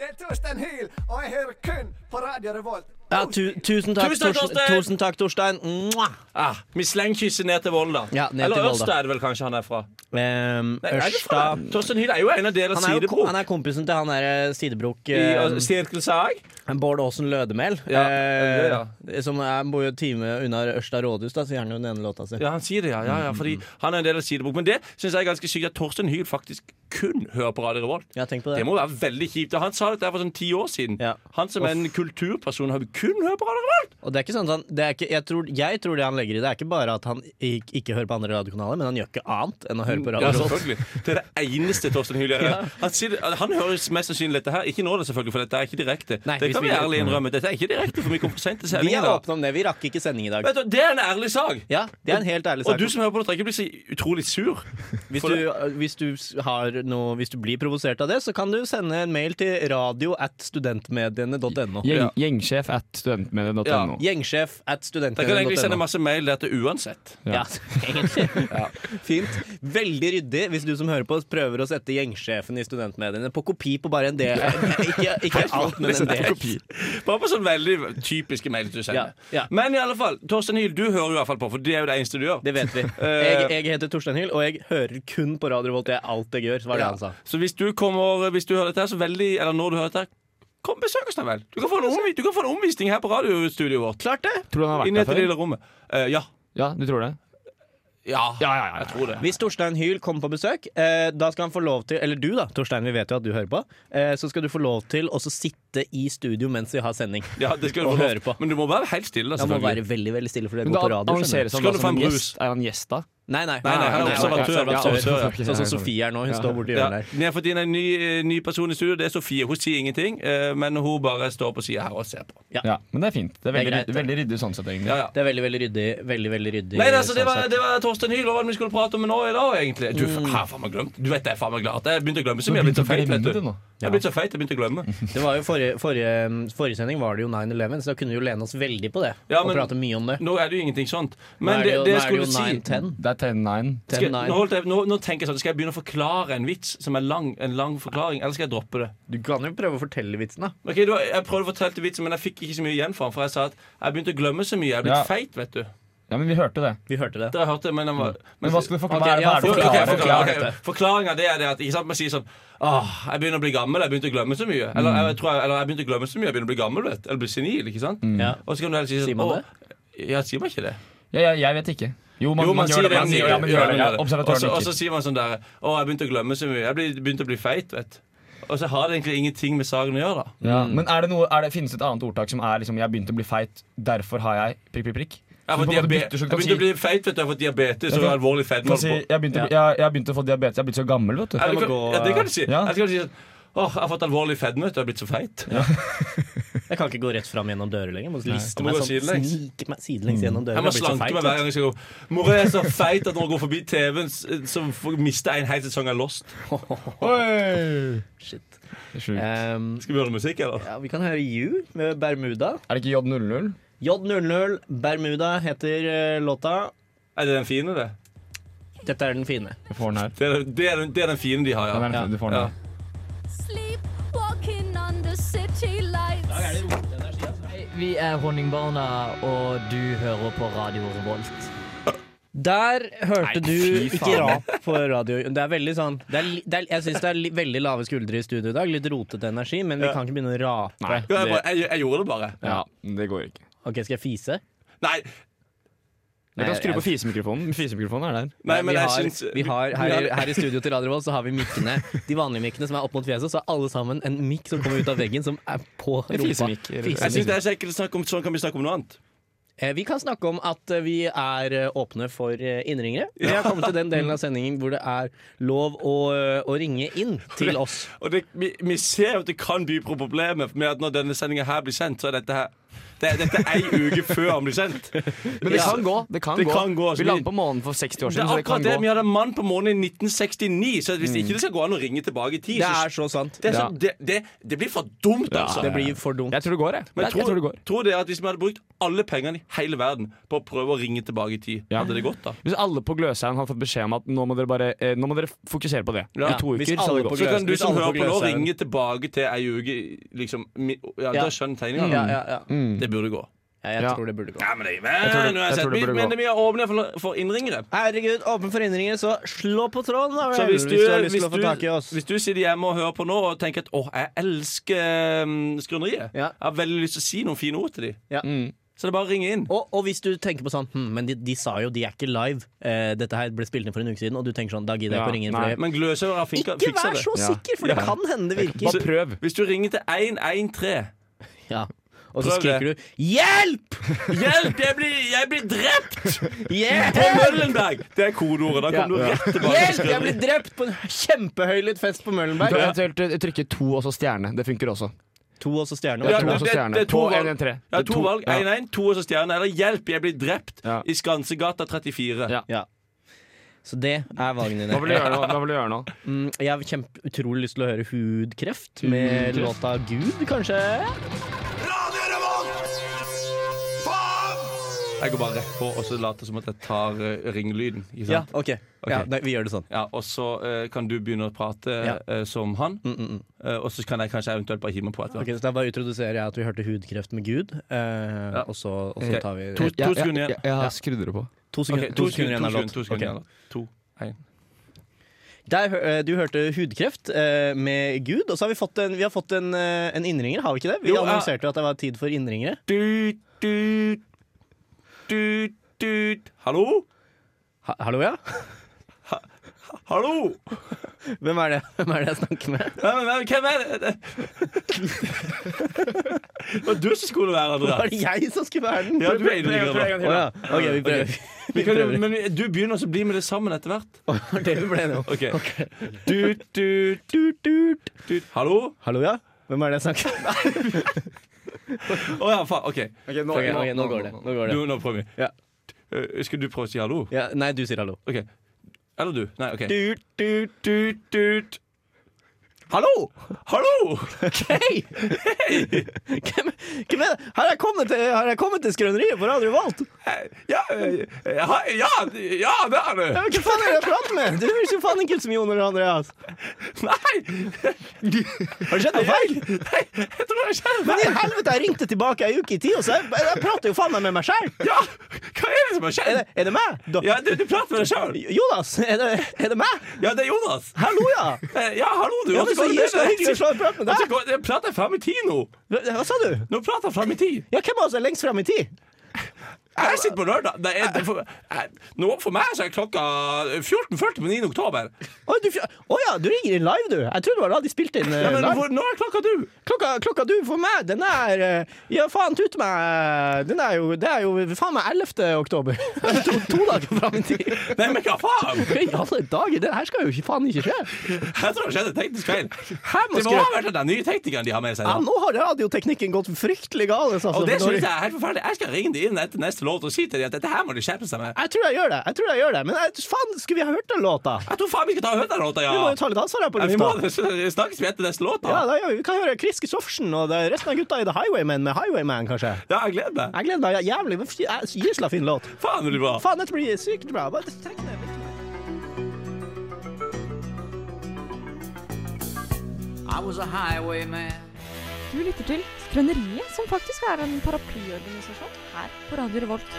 Speaker 8: Det er Torstein Hyl, og jeg hører kun på Radio Revolt.
Speaker 2: Ja, tu tusen takk,
Speaker 1: Tusen takk,
Speaker 2: Torsten-
Speaker 1: Torstein!
Speaker 2: Tusen takk, Torstein. Mwah!
Speaker 1: Ah, vi slengkysser ned til Volda.
Speaker 2: Ja, ned til
Speaker 1: Eller
Speaker 2: Volda.
Speaker 1: Ørsta er det vel kanskje han er fra.
Speaker 2: Ehm,
Speaker 1: Nei, er det fra?
Speaker 2: Ørsta
Speaker 1: Torstein Hyl er jo en av deres
Speaker 2: han er, jo, ko-
Speaker 1: sidebror.
Speaker 2: han er kompisen til han der Sidebrok
Speaker 1: I
Speaker 2: eh,
Speaker 1: uh, Sirkelsag.
Speaker 2: Bård Aasen Lødemel.
Speaker 1: Ja,
Speaker 2: eh,
Speaker 1: ja,
Speaker 2: Som er, bor jo en time unna Ørsta rådhus, da, sier han jo den ene låta si.
Speaker 1: Ja, han sier det, ja. ja,
Speaker 2: Mm,
Speaker 1: ja fordi han er en del av sidebrok. Men det syns jeg er ganske sykt at Torstein Hyl faktisk kun hører på Radio Revolt.
Speaker 2: Ja, tenk på
Speaker 1: Det
Speaker 2: det.
Speaker 1: må være veldig kjipt. og Han sa dette her for sånn ti år siden.
Speaker 2: Ja.
Speaker 1: Han som er en kulturperson, har kun hørt på Radio Revolt!
Speaker 2: Og det er ikke sånn at han, det er ikke, jeg, tror, jeg tror det han legger i det, er ikke bare at han ikke, ikke hører på andre radiokanaler, men han gjør ikke annet enn å høre på
Speaker 1: Ja,
Speaker 2: radio. Revolt.
Speaker 1: selvfølgelig. Det er det eneste Torstein Hyl gjør. Han, sier, han hører mest sannsynlig dette her. Ikke nå, da, selvfølgelig, for dette er ikke direkte.
Speaker 2: Nei,
Speaker 1: det
Speaker 2: hvis
Speaker 1: kan vi
Speaker 2: vi-
Speaker 1: ærlig innrømme. Dette er ikke direkte, for vi kom for sent til
Speaker 2: vi
Speaker 1: sendingen.
Speaker 2: er
Speaker 1: da.
Speaker 2: åpne om det. Vi rakk ikke sending i dag.
Speaker 1: Vet du, Det er en ærlig sak.
Speaker 2: Ja, det er en helt ærlig
Speaker 1: Og
Speaker 2: sak.
Speaker 1: du som hører på dette, ikke bli så utrolig sur.
Speaker 2: Hvis
Speaker 1: for
Speaker 2: du, eh, hvis, du s- har noe, hvis du blir provosert av det, så kan du sende en mail til radio at studentmediene.no.
Speaker 4: Gjeng,
Speaker 1: Ja.
Speaker 4: Gjengsjef at studentmediet.no.
Speaker 1: Ja.
Speaker 2: Gjengsjef at
Speaker 1: Da kan jeg egentlig sende
Speaker 2: studentmediene.no.
Speaker 1: masse mail der til uansett.
Speaker 2: Ja, egentlig. Fint. Veldig ryddig hvis du som hører på, prøver å sette gjengsjefen i studentmediene på kopi på bare en del. Ikke, ikke alt, men
Speaker 1: Liksom,
Speaker 2: en del.
Speaker 1: Bare på sånn veldig typiske mail du sender.
Speaker 2: Ja, ja.
Speaker 1: Men i alle fall, Torstein Hyl, du hører jo i hvert fall på, for det er jo det eneste du gjør.
Speaker 2: Det vet vi.
Speaker 1: Eh.
Speaker 2: Jeg, jeg heter Torstein Hyl, og jeg hører kun på Radio Volt. Det er alt jeg altså. gjør. Så var det
Speaker 1: Ja.
Speaker 2: han sa.
Speaker 1: Så hvis du kommer Hvis du hører dette, her, så veldig Eller når du hører dette, her, kom og besøk oss, da vel. Du kan få en, omvi du kan få en omvisning her på radiostudioet vårt. Klart det
Speaker 4: Tror du han har
Speaker 1: Inne i
Speaker 4: vært
Speaker 1: dette
Speaker 4: der før?
Speaker 1: lille rommet. Eh, ja.
Speaker 4: Ja, du tror det?
Speaker 1: Ja.
Speaker 4: Ja, ja, ja.
Speaker 1: Jeg tror det.
Speaker 2: Hvis Torstein Hyl kommer på besøk, eh, da skal han få lov til Eller du, da, Torstein, vi vet jo at du hører på. Eh, så skal du få lov til å så sitte i studio mens vi har sending.
Speaker 1: Ja, det skal du
Speaker 2: Og
Speaker 1: få lov.
Speaker 2: høre på.
Speaker 1: Men du må være helt stille. da,
Speaker 2: Jeg må
Speaker 1: selvfølgelig.
Speaker 2: være veldig veldig stille, for det
Speaker 4: Men
Speaker 2: går
Speaker 4: da
Speaker 2: på radio.
Speaker 4: annonseres
Speaker 1: Skal
Speaker 2: skjønner
Speaker 4: han
Speaker 1: du
Speaker 4: da
Speaker 1: få en
Speaker 4: som en
Speaker 1: brus?
Speaker 4: gjest. Er han gjest da?
Speaker 2: du. Nei, nei.
Speaker 1: Nei, nei, han er
Speaker 2: Nei,
Speaker 1: observatør,
Speaker 2: han er
Speaker 1: observatør, ja.
Speaker 2: Sånn som Sofie er nå. Hun står borti
Speaker 1: Ja.
Speaker 2: hjørnet der.
Speaker 1: Nei, fordi det er en ny, eh, ny person i studio. Det er Sofie. Hun sier ingenting, eh, men hun bare står på sida her og ser på.
Speaker 4: Ja, men det er fint. Det
Speaker 2: Det
Speaker 4: er veldig,
Speaker 2: er greit,
Speaker 4: ryddig- veldig ryddig sånn sett, egentlig.
Speaker 1: Ja, ja.
Speaker 2: Det er veldig, veldig ryddig. Veldig, veldig ryddig
Speaker 1: Nei, altså, det, var,
Speaker 2: sånn sett.
Speaker 1: det var Torstein Hyl. Hva var det vi skulle prate om nå i dag, egentlig? Du, faen, jeg har faen meg glemt. Du vet jeg er faen meg glad at jeg begynte å glemme så mye. Jeg er blitt så feit, vet du. Jeg er blitt så feit, jeg begynte å glemme.
Speaker 2: Det var jo forrige, forrige, forrige sending var det jo 9-11, så da kunne vi jo lene oss veldig på det.
Speaker 1: Ja,
Speaker 2: og
Speaker 1: men-
Speaker 2: prate mye om det.
Speaker 1: Nå er det jo ingenting sånt.
Speaker 2: Nå
Speaker 1: Men
Speaker 2: er det
Speaker 1: det,
Speaker 2: jo,
Speaker 1: det jeg
Speaker 2: nå er det
Speaker 1: skulle
Speaker 2: jo
Speaker 1: si
Speaker 2: 9-10.
Speaker 4: Det er 10-9.
Speaker 1: skal, jeg-
Speaker 2: 10-9.
Speaker 1: nå, holdt jeg, nå, nå tenker jeg sånn Skal jeg begynne å forklare en vits som er lang, en lang forklaring, eller skal jeg droppe det?
Speaker 2: Du kan jo prøve å fortelle vitsen, da.
Speaker 1: Ok, du, Jeg prøvde å fortelle til vitsen, men jeg fikk ikke så mye igjen for den. For jeg sa at jeg begynte å glemme så mye. Jeg er blitt
Speaker 4: Ja.
Speaker 1: feit, vet du.
Speaker 4: Ja, men vi hørte det.
Speaker 2: Vi hørte det.
Speaker 1: Det har jeg hørt det, men, den var,
Speaker 4: Men hva skal du
Speaker 2: Ok, ja,
Speaker 4: forklare? Hva er det du
Speaker 2: forklar-
Speaker 4: forklarer?
Speaker 2: ok, forklar
Speaker 1: Forklaringa
Speaker 2: dette.
Speaker 1: det er det at ikke sant, man sier sånn Åh, jeg begynner å bli gammel. Jeg begynte å glemme så mye.
Speaker 2: Mm.
Speaker 1: Eller jeg, tror jeg, eller jeg begynte å glemme så mye Jeg begynner å bli gammel, vet du. Eller bli senil. ikke sant?
Speaker 2: Ja.
Speaker 1: Og så kan du heller si sånn
Speaker 2: Mm. Sier man
Speaker 1: «Åh,
Speaker 2: det?
Speaker 1: Ja, sier man ikke det?
Speaker 4: Ja, ja, jeg vet ikke. Jo, man,
Speaker 1: jo,
Speaker 4: man, gjør det. Man, sier- ja, man gjør det. Ja,
Speaker 1: Og så-
Speaker 4: Observatøren
Speaker 1: Og så
Speaker 4: nikker.
Speaker 1: sier man sånn der Å, jeg begynte å glemme så mye. Jeg ble- begynte å bli feit, vet du. Og så har det egentlig ingenting med saken å gjøre, da.
Speaker 4: Ja. Men er det noe, er det, finnes det et annet ordtak som er liksom 'jeg begynte å bli feit, derfor har jeg prikk, prikk, prikk'?
Speaker 1: Jeg har
Speaker 4: Så
Speaker 1: fått
Speaker 4: du på en måte
Speaker 1: diabe-
Speaker 4: bytter,
Speaker 1: jeg
Speaker 4: så du kan
Speaker 1: begynte å
Speaker 4: si-
Speaker 1: bli feit, vet du. Jeg har fått diabetes og
Speaker 4: kan-
Speaker 1: alvorlig fedme.
Speaker 4: kan si,
Speaker 1: holdt på.
Speaker 4: jeg begynte, jeg, jeg begynte å få diabetes, jeg er blitt så gammel, vet du.
Speaker 1: Eller
Speaker 2: må
Speaker 1: kan-
Speaker 2: gå,
Speaker 1: Ja, det kan du si.
Speaker 4: ja.
Speaker 1: Eller så kan du si sånn Åh, jeg har fått alvorlig fedme, vet du. Jeg er blitt så feit.
Speaker 2: Jeg kan ikke gå rett fram gjennom dører lenger. Jeg Må
Speaker 1: Du
Speaker 2: liste
Speaker 1: må
Speaker 2: meg
Speaker 1: gå
Speaker 2: sånn,
Speaker 1: sidelengs. Mm.
Speaker 2: snike meg sidelengs gjennom dører.
Speaker 1: Jeg må
Speaker 2: blir så
Speaker 1: slanke
Speaker 2: feit,
Speaker 1: meg hver gang jeg skal gå. Mora er så feit at når hun går forbi TV-en, s- så får- mister jeg en hel sesong av Lost.
Speaker 4: Oi!
Speaker 2: Shit.
Speaker 4: Det er sjukt.
Speaker 2: Ehm,
Speaker 1: Skal vi høre musikk, eller?
Speaker 2: ja, vi kan høre You med Bermuda.
Speaker 4: Er det ikke J00?
Speaker 2: J00 Bermuda heter eh, låta.
Speaker 1: Er det den fine, det?
Speaker 2: Dette er den fine.
Speaker 4: Du får den her.
Speaker 1: Det er, det er, den, det er den fine de har,
Speaker 4: Den er
Speaker 1: ja.
Speaker 4: den fine, du får den
Speaker 1: ja.
Speaker 4: her.
Speaker 7: Sleepwalking under city lights.
Speaker 9: Vi er Honningbarna, og du hører på Radio Revolt.
Speaker 2: Der hørte du ikke rap på radio. Det er veldig sånn det er, li- det er, Jeg syns det er li, veldig lave skuldre i studio i dag. Litt rotete energi, men vi kan ikke begynne å rape.
Speaker 4: Nei.
Speaker 1: Ja, jeg, bare, jeg, jeg gjorde det bare.
Speaker 4: Ja, det går ikke.
Speaker 2: Ok, Skal jeg fise?
Speaker 1: Nei,
Speaker 4: Jeg kan skru
Speaker 2: jeg-
Speaker 4: på fisemikrofonen. Fisemikrofonen er der.
Speaker 1: nei men
Speaker 2: vi
Speaker 1: jeg
Speaker 2: har,
Speaker 1: syns
Speaker 2: vi har, her,
Speaker 1: vi har-
Speaker 2: her i studio til Radio Revolt så har vi mikkene. De vanlige mikkene som er opp mot fjeset, så har alle sammen en mikk som kommer ut av veggen, som er på
Speaker 4: En
Speaker 2: rumpa.
Speaker 4: fisemikk, eller-
Speaker 2: Fisemikk.
Speaker 1: jeg syns det er så ekkelt å snakke om sånn. Kan vi snakke om noe annet?
Speaker 2: Eh, Vi kan snakke om at eh, vi er eh, åpne for eh, innringere. Vi har kommet til den delen av sendingen hvor det er lov å, eh, å ringe inn til oss.
Speaker 1: Og det, vi, vi ser jo at det kan by på problemet med at når denne sendinga her blir sendt, så er dette her det, Dette er ei uke før den blir sendt.
Speaker 4: Men det kan gå. Det kan
Speaker 1: Det
Speaker 4: gå.
Speaker 1: kan gå, så
Speaker 4: Vi
Speaker 1: vi-
Speaker 4: landet på månen for 60 år
Speaker 1: Det er
Speaker 4: siden, så det kan
Speaker 1: akkurat det.
Speaker 4: gå.
Speaker 1: Vi hadde en mann på månen i 1969, så hvis ikke det skal gå an å ringe tilbake i tid,
Speaker 2: Det
Speaker 1: så
Speaker 2: er så sant.
Speaker 1: Det, er så, det, det, det blir for dumt, altså.
Speaker 2: Det blir for dumt.
Speaker 4: Jeg tror det går, jeg.
Speaker 1: Men
Speaker 4: jeg,
Speaker 1: tror,
Speaker 4: jeg tror det går.
Speaker 1: tror dere at hvis vi hadde brukt alle pengene i hele verden på å prøve å ringe tilbake i tid,
Speaker 4: Ja.
Speaker 1: hadde det gått da?
Speaker 4: Hvis alle på Gløshaugen hadde fått beskjed om at nå må dere, bare, eh, nå må dere fokusere på det
Speaker 1: Ja,
Speaker 4: i to
Speaker 2: hvis
Speaker 4: uker, så hadde
Speaker 2: alle
Speaker 4: det
Speaker 2: på
Speaker 4: gått.
Speaker 1: Så kan du
Speaker 2: Hvis
Speaker 1: som
Speaker 2: alle
Speaker 1: hører
Speaker 2: på
Speaker 1: på nå,
Speaker 2: Gløshaugen.
Speaker 1: ringe tilbake til ei uke liksom, mi- Ja,
Speaker 2: Ja. Mm.
Speaker 1: da skjønner tegninga.
Speaker 2: Ja, ja, ja.
Speaker 1: Det burde gå.
Speaker 2: Ja, jeg
Speaker 4: Ja.
Speaker 2: tror det burde gå.
Speaker 1: Mm. Ja, men det,
Speaker 4: tror det-
Speaker 1: men,
Speaker 4: jeg
Speaker 1: uansett,
Speaker 4: tror det
Speaker 1: vi-
Speaker 4: burde gå.
Speaker 1: men vi har åpnet for, for innringere.
Speaker 2: Herregud, åpen for innringere, så slå på tråden, da vel!
Speaker 1: Så hvis du,
Speaker 2: har lyst
Speaker 1: hvis
Speaker 2: til å få tak i oss.
Speaker 1: du, hvis du sitter hjemme og hører på nå og tenker at 'Å, jeg elsker um, Skrøneriet',
Speaker 2: Ja.
Speaker 1: jeg har veldig lyst til å si noen fine ord til dem,
Speaker 2: Ja.
Speaker 1: så det er bare å ringe inn.
Speaker 2: Og, og hvis du tenker på sånn hm, Men de, de sa jo de er ikke live. Eh, dette her ble spilt inn for en uke siden, og du tenker sånn Da gidder jeg
Speaker 4: Ja,
Speaker 2: ikke å ringe inn.
Speaker 4: nei,
Speaker 2: For det.
Speaker 1: Men Gløshauger har finka-
Speaker 2: Ikke
Speaker 1: fiksa
Speaker 2: vær
Speaker 1: det.
Speaker 2: så
Speaker 4: Ja.
Speaker 2: sikker, for det
Speaker 1: Ja.
Speaker 2: kan hende det virker.
Speaker 4: Bare prøv.
Speaker 1: Hvis du ringer til 113
Speaker 2: Ja. Og så
Speaker 1: Prøv det.
Speaker 2: skriker du 'hjelp!
Speaker 1: Hjelp, jeg blir, jeg blir drept! På
Speaker 2: Hjelp!
Speaker 1: Møllenberg! Det er kodeordet. Da kommer du rett tilbake.
Speaker 2: Hjelp! Jeg ble drept på en kjempehøylytt fest på
Speaker 4: Du
Speaker 2: Møllenberg.
Speaker 4: kan eventuelt eh, trykke to og så stjerne. Det funker også.
Speaker 2: To og så stjerne.
Speaker 4: Det
Speaker 1: Ja,
Speaker 4: er to
Speaker 1: det-
Speaker 4: og så
Speaker 1: det-
Speaker 4: stjerne.
Speaker 1: det er to
Speaker 4: På
Speaker 1: valg.
Speaker 4: 113.
Speaker 1: Jeg har to valg. 1-1, to og så stjerne. Eller hjelp, jeg blir drept
Speaker 4: Ja.
Speaker 1: i Skansegata 34.
Speaker 4: Ja.
Speaker 2: Så det er valgene
Speaker 4: Hva vil du
Speaker 2: dine.
Speaker 4: gjøre nå? Hva vil du gjøre nå?
Speaker 2: Mm, Jeg har kjempe utrolig lyst til å høre Hudkreft med låta Gud, kanskje.
Speaker 1: Jeg går bare rett på og så later som at jeg tar eh, ringelyden. Ikke
Speaker 2: Ja,
Speaker 1: sant? Ja.
Speaker 2: OK. Ja, nei, vi gjør det sånn.
Speaker 1: og så eh, kan du begynne å prate
Speaker 2: Ja.
Speaker 1: eh, som han.
Speaker 2: Mm, mm, mm.
Speaker 1: eh, og så kan jeg kanskje eventuelt bare hive meg på etter.
Speaker 2: Ok, så Da bare introduserer jeg at vi hørte Hudkreft med Gud, eh, og, så, og så
Speaker 1: Ok.
Speaker 2: tar vi eh,
Speaker 1: To, to sekunder igjen.
Speaker 4: Jeg skrudde det på.
Speaker 2: To
Speaker 1: Ok,
Speaker 2: sekunder,
Speaker 1: to
Speaker 2: to sekunder igjen av
Speaker 1: sekunder,
Speaker 2: låt.
Speaker 1: to sekunder
Speaker 2: Ok.
Speaker 1: igjen av låt. To.
Speaker 2: Der, hø- eh, du hørte Hudkreft eh, med Gud, og så har vi fått en, vi har fått en, eh, en innringer, har vi ikke det? Vi
Speaker 1: Jo, ja.
Speaker 2: annonserte jo at det var tid for innringere.
Speaker 1: Tut, tut, tut, tut. Hallo?
Speaker 2: Ha, hallo, ja?
Speaker 1: Hallo!
Speaker 2: Hvem er det, Hvem er det jeg snakker med?
Speaker 1: Hvem, hvem, hvem er det? Og du som skulle være
Speaker 2: Var
Speaker 1: Andreas.
Speaker 2: det jeg som skulle være den?
Speaker 1: Ja, du er
Speaker 2: Å
Speaker 1: innrømmer det.
Speaker 2: ja. OK, vi prøver.
Speaker 1: Vi kan jo- Men du begynner også å bli med det sammen etter hvert.
Speaker 2: Det var det vi ble enige om.
Speaker 1: Ok Tut, tut, tut, tut, tut. Hallo?
Speaker 2: Hallo, ja? Hvem er det jeg snakker med?
Speaker 1: Å ja, faen. OK.
Speaker 2: Ok, ok, nå går det. Nå går det.
Speaker 1: Du, nå prøver vi.
Speaker 2: Ja.
Speaker 1: Eh, Skal du prøve å si hallo?
Speaker 2: Ja, nei, du sier hallo.
Speaker 1: OK. Eller du. Nei, OK.
Speaker 2: Tut, tut.
Speaker 1: Tut, tut.
Speaker 2: Hallo!
Speaker 1: Hallo!
Speaker 2: Hei! Hvem, hvem er det? Har jeg kommet til, har jeg kommet til skrøneriet på Radio Volt?
Speaker 1: Ja, eh, ja, ja, ja, det er du!
Speaker 2: Ja, men Hva faen er det jeg prater med? Du høres jo faen ikke ut som Jon eller Andreas.
Speaker 1: Nei!
Speaker 2: Har det skjedd noe feil?
Speaker 1: Nei, jeg tror det skjer.
Speaker 2: Men i helvete, jeg ringte tilbake ei uke i tid, og så jeg, jeg prater jo faen meg med meg sjæl.
Speaker 1: Ja, hva er det som har
Speaker 2: Er,
Speaker 1: skjedd?
Speaker 2: det- er det meg? Da,
Speaker 1: Ja, du, du prater med deg sjøl.
Speaker 2: Jonas, er det, er det meg?
Speaker 1: Ja, det er Jonas.
Speaker 2: Hallo, ja.
Speaker 1: Eh, Ja, hallo, du.
Speaker 2: Ja, men
Speaker 1: Hvordan går
Speaker 2: så
Speaker 1: det
Speaker 2: gir
Speaker 1: med
Speaker 2: jeg
Speaker 1: deg?
Speaker 2: ikke så slå en prat med
Speaker 1: Altså,
Speaker 2: deg.
Speaker 1: går- Jeg prater fram i tid nå.
Speaker 2: Hva sa du?
Speaker 1: Nå prater jeg fram i tid.
Speaker 2: Ja, hvem av oss er lengst fram i tid?
Speaker 1: Jeg sitter på lørdag. Det er, det er for, eh, nå for meg så er klokka 14.40 på 9. oktober.
Speaker 2: Å du, fj- å ja, du ringer inn live, du. Jeg trodde det var da de spilte inn eh,
Speaker 1: Ja, men
Speaker 2: live.
Speaker 1: hvor, når er klokka du?
Speaker 2: Klokka, klokka du for meg, den er eh, Ja, faen tute meg Den er jo, det er jo faen meg 11. oktober. to, to dager fram i tid.
Speaker 1: Nei, men hva faen?
Speaker 2: I alle dager, det her skal jo ikke faen ikke skje.
Speaker 1: Jeg tror det skjedde en teknisk feil.
Speaker 2: Her må
Speaker 1: Det må ha
Speaker 2: skre-
Speaker 1: vært den nye teknikeren de har med seg.
Speaker 2: ja,
Speaker 1: Da.
Speaker 2: nå har radioteknikken gått fryktelig galt. Altså,
Speaker 1: Og det
Speaker 2: for
Speaker 1: synes
Speaker 2: dårlig.
Speaker 1: jeg er helt forferdelig. Jeg skal ringe de inn etter neste låt og si til de at dette her må de skjerpe seg med.
Speaker 2: jeg tror jeg gjør det. jeg tror jeg gjør det Men jeg, faen, skulle vi ha hørt den låta?
Speaker 1: Jeg tror faen vi skal ta og høre den låta, ja.
Speaker 2: Vi må jo ta litt ansvar her på
Speaker 1: Ja, vi må
Speaker 2: lufta.
Speaker 1: det. Så Snakkes vi etter neste låt,
Speaker 2: Ja,
Speaker 1: da?
Speaker 2: da gjør vi. vi kan høre Chris Kristoffersen og det, resten av gutta i The Highwaymen med Highwayman, kanskje.
Speaker 1: Ja, jeg gleder meg.
Speaker 2: Jeg gleder meg jævlig. men fy- jeg- Gysla fin låt.
Speaker 1: Faen, det blir bra.
Speaker 2: Faen, dette blir sykt bra. Bare trekk ned litt.
Speaker 7: Du lytter til Skrøneriet, som faktisk er en paraplyorganisasjon her på Radio Revolt.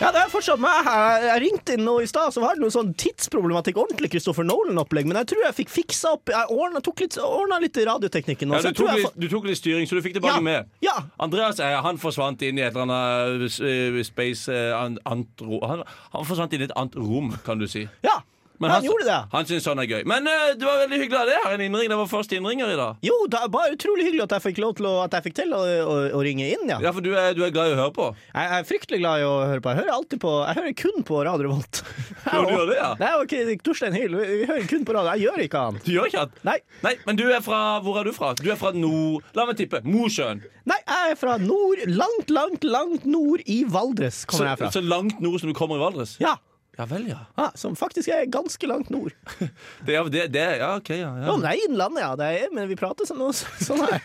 Speaker 2: Ja, det er fortsatt meg her. Jeg ringte inn nå i stad, så var det noe sånn tidsproblematikk. Ordentlig Christopher Nolan-opplegg, men jeg tror jeg fikk fiksa opp Jeg ordna, tok litt, ordna litt radioteknikken. Nå,
Speaker 1: Ja,
Speaker 2: så
Speaker 1: du, tok
Speaker 2: altså, jeg tror jeg
Speaker 1: litt, du tok litt styring, så du fikk det
Speaker 2: Ja.
Speaker 1: bare med.
Speaker 2: Ja.
Speaker 1: Andreas eh, han forsvant inn i et eller annet eh, space eh, an- antro... Han, han forsvant inn i et annet rom, kan du si.
Speaker 2: får- ja.
Speaker 1: Men
Speaker 2: han gjorde det.
Speaker 1: Han syns sånn er gøy. Men eh, det var veldig hyggelig av deg. Her er en innring. Det var første innringer i dag.
Speaker 2: Jo, det er bare utrolig hyggelig at jeg fikk lov til å, at jeg fikk til å, å, å ringe inn, ja.
Speaker 1: Ja, for du er, du er glad i å høre på.
Speaker 2: Jeg, jeg er fryktelig glad i å høre på. Jeg hører alltid på Jeg hører kun på Radio Revolt.
Speaker 1: Ja, du gjør det, ja.
Speaker 2: Nei, ok, Torstein Hyl, vi, vi hører kun på radio. Jeg gjør ikke annet.
Speaker 1: Du gjør ikke at
Speaker 2: Nei.
Speaker 1: Nei, men du er fra Hvor er du fra? Du er fra nord... La meg tippe. Mosjøen.
Speaker 2: Nei, jeg er fra nord, langt, langt, langt nord i Valdres
Speaker 1: Så,
Speaker 2: kommer jeg fra.
Speaker 1: så langt nord som du kommer i Valdres?
Speaker 2: Ja.
Speaker 1: Ja vel, ja.
Speaker 2: ja, Ah, Som faktisk er ganske langt nord.
Speaker 1: Det, ja, det, det, ja OK, ja. ja.
Speaker 2: Ja, men det er Innlandet, ja. Det er, men vi prater sånn, sånn her.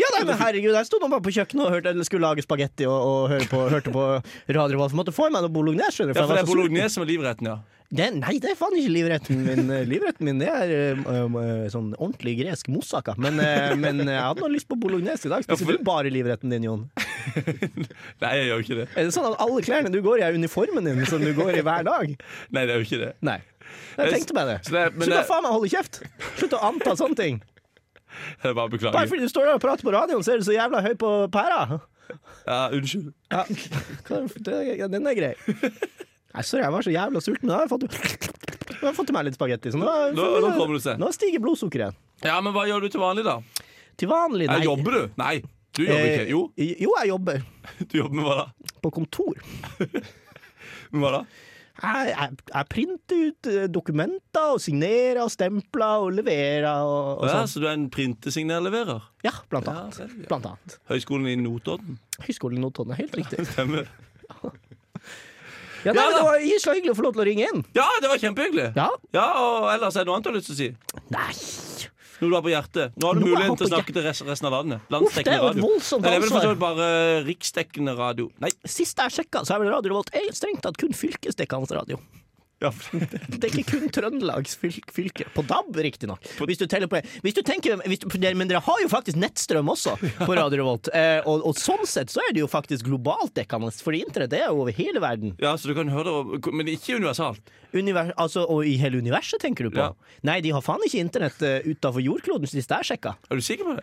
Speaker 2: Ja, nei, men herregud, jeg sto nå bare på kjøkkenet og hørte, eller skulle lage spagetti og, og høre på, hørte på Radio Revolt. Måtte få i meg noe bolognese, skjønner du.
Speaker 1: Ja, for det er
Speaker 2: jeg var så sulten.
Speaker 1: bolognese som er livretten, ja.
Speaker 2: Det, nei, det er faen ikke livretten min. Eh, Livretten min det er øhm, øh, sånn ordentlig gresk moussaka. Men, øh, men jeg hadde nå lyst på bolognese i dag. Spiser
Speaker 1: for-
Speaker 2: du bare livretten din, Jon?
Speaker 1: Nei, jeg gjør ikke det.
Speaker 2: Er det sånn at alle klærne du går i, er uniformen din, som du går i hver dag?
Speaker 1: Nei, det er jo ikke det.
Speaker 2: Nei. Jeg tenkte meg det.
Speaker 1: Så det er- men
Speaker 2: Slutt å
Speaker 1: det-
Speaker 2: faen meg holde kjeft! Slutt å anta sånne ting.
Speaker 1: Det er bare å
Speaker 2: Bare
Speaker 1: beklage.
Speaker 2: fordi du står der og prater på radioen, så er du så jævla høy på pæra.
Speaker 1: Ja, unnskyld.
Speaker 2: Ja. Hva- det- ja, Den er grei. Nei, sorry, jeg var så jævla sulten. men Nå har jeg fått, nå har jeg fått til meg litt spagetti. så Nå,
Speaker 1: Nå- nå kommer det seg.
Speaker 2: Nå stiger blodsukkeret.
Speaker 1: Ja, men hva gjør du til vanlig, da?
Speaker 2: Til vanlig,
Speaker 1: Ja, jobber du? Nei, du jobber ikke. Jo,
Speaker 2: Eh, jo, jeg jobber
Speaker 1: du jobber med hva da?
Speaker 2: på kontor.
Speaker 1: Med hva da?
Speaker 2: Jeg, jeg, jeg printer ut eh, dokumenter og signerer og stempler og leverer og, og
Speaker 1: Ja,
Speaker 2: sånn.
Speaker 1: så du er en printesignalleverer?
Speaker 2: Ja, blant
Speaker 1: Ja,
Speaker 2: annet.
Speaker 1: ser du, ja.
Speaker 2: Blant annet.
Speaker 1: Høgskolen i Notodden?
Speaker 2: Høgskolen i Notodden, helt riktig.
Speaker 1: Stemmer.
Speaker 2: Ja, nei,
Speaker 1: Ja,
Speaker 2: men det var så hyggelig å få lov til å ringe inn.
Speaker 1: Ja, det var kjempehyggelig!
Speaker 2: Ja.
Speaker 1: Ja, og ellers er det noe annet du har lyst til å si?
Speaker 2: Nei.
Speaker 1: Nå er du har på hjertet. Nå har du
Speaker 2: Nå er jeg
Speaker 1: muligheten til å
Speaker 2: på
Speaker 1: snakke til rest- resten av landet.
Speaker 2: Uff, det er
Speaker 1: Landsdekkende
Speaker 2: jo et
Speaker 1: radio.
Speaker 2: voldsomt
Speaker 1: Nei, det er vel for så
Speaker 2: ansvar.
Speaker 1: vidt bare eh, riksdekkende radio. Nei.
Speaker 2: Sist jeg sjekka, så er vel Radio Revolt eh, strengt tatt kun fylkesdekkende radio.
Speaker 1: Ja, for-
Speaker 2: Det er ikke kun Trøndelags fylke. fylke. På DAB, riktignok. Hvis du teller på hvis du tenker, hvis du, dere- Men dere har jo faktisk nettstrøm også på Radio Revolt. Eh, og, og sånn sett så er det jo faktisk globalt dekkende, fordi internett er jo over hele verden.
Speaker 1: ja, så du kan høre det, over- men ikke universalt.
Speaker 2: Univers, altså, og i hele universet, tenker du på?
Speaker 1: Ja.
Speaker 2: Nei, de har faen ikke internett uh, utafor jordkloden, eh, sist jeg sjekka.
Speaker 1: Er du sikker på det?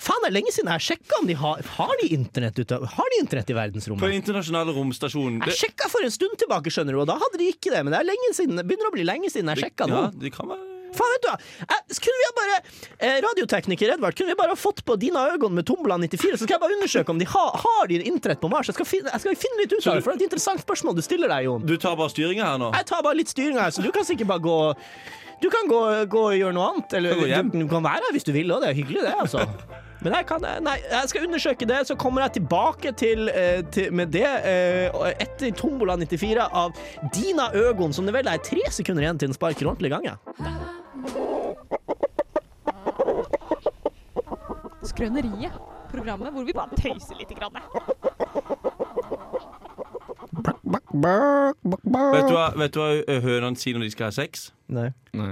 Speaker 2: Faen, det er lenge siden jeg har sjekka om de har Har de internett ute? Har de internett i
Speaker 1: På den
Speaker 2: verdensrommet?
Speaker 1: internasjonale romstasjonen.
Speaker 2: Jeg sjekka for en stund tilbake, skjønner du, og da hadde de ikke det. Men det er lenge siden, det begynner å bli lenge siden jeg sjekka nå.
Speaker 1: ja, det kan være
Speaker 2: Faen, vet du hva! Jeg, kunne vi ha bare eh, Radiotekniker Edvard, kunne vi bare ha fått på dine øyne med Tombola 94, så skal jeg bare undersøke om de ha, har de internett på Mars? Jeg skal, finne, jeg skal finne litt ut av det, for det er et interessant spørsmål du stiller deg, Jon.
Speaker 1: Du tar bare styringa her nå?
Speaker 2: Jeg tar bare litt styringa her, så du kan sikkert bare gå Du kan gå, gå og gjøre noe annet. Eller
Speaker 1: Gå hjem.
Speaker 2: du, du kan være her hvis du vil, og det er hyggelig, det, altså. Men jeg, kan, nei, jeg skal undersøke det, så kommer jeg tilbake til, eh, til med det eh, og etter Tombola 94 av Dina Øgon, som det vel er tre sekunder igjen til den sparker ordentlig i gang. Ja.
Speaker 7: Skrøneriet. Programmet hvor vi bare tøyser litt. Grann.
Speaker 1: Vet du hva, vet du hva ø, hønene sier når de skal ha sex?
Speaker 2: Nei.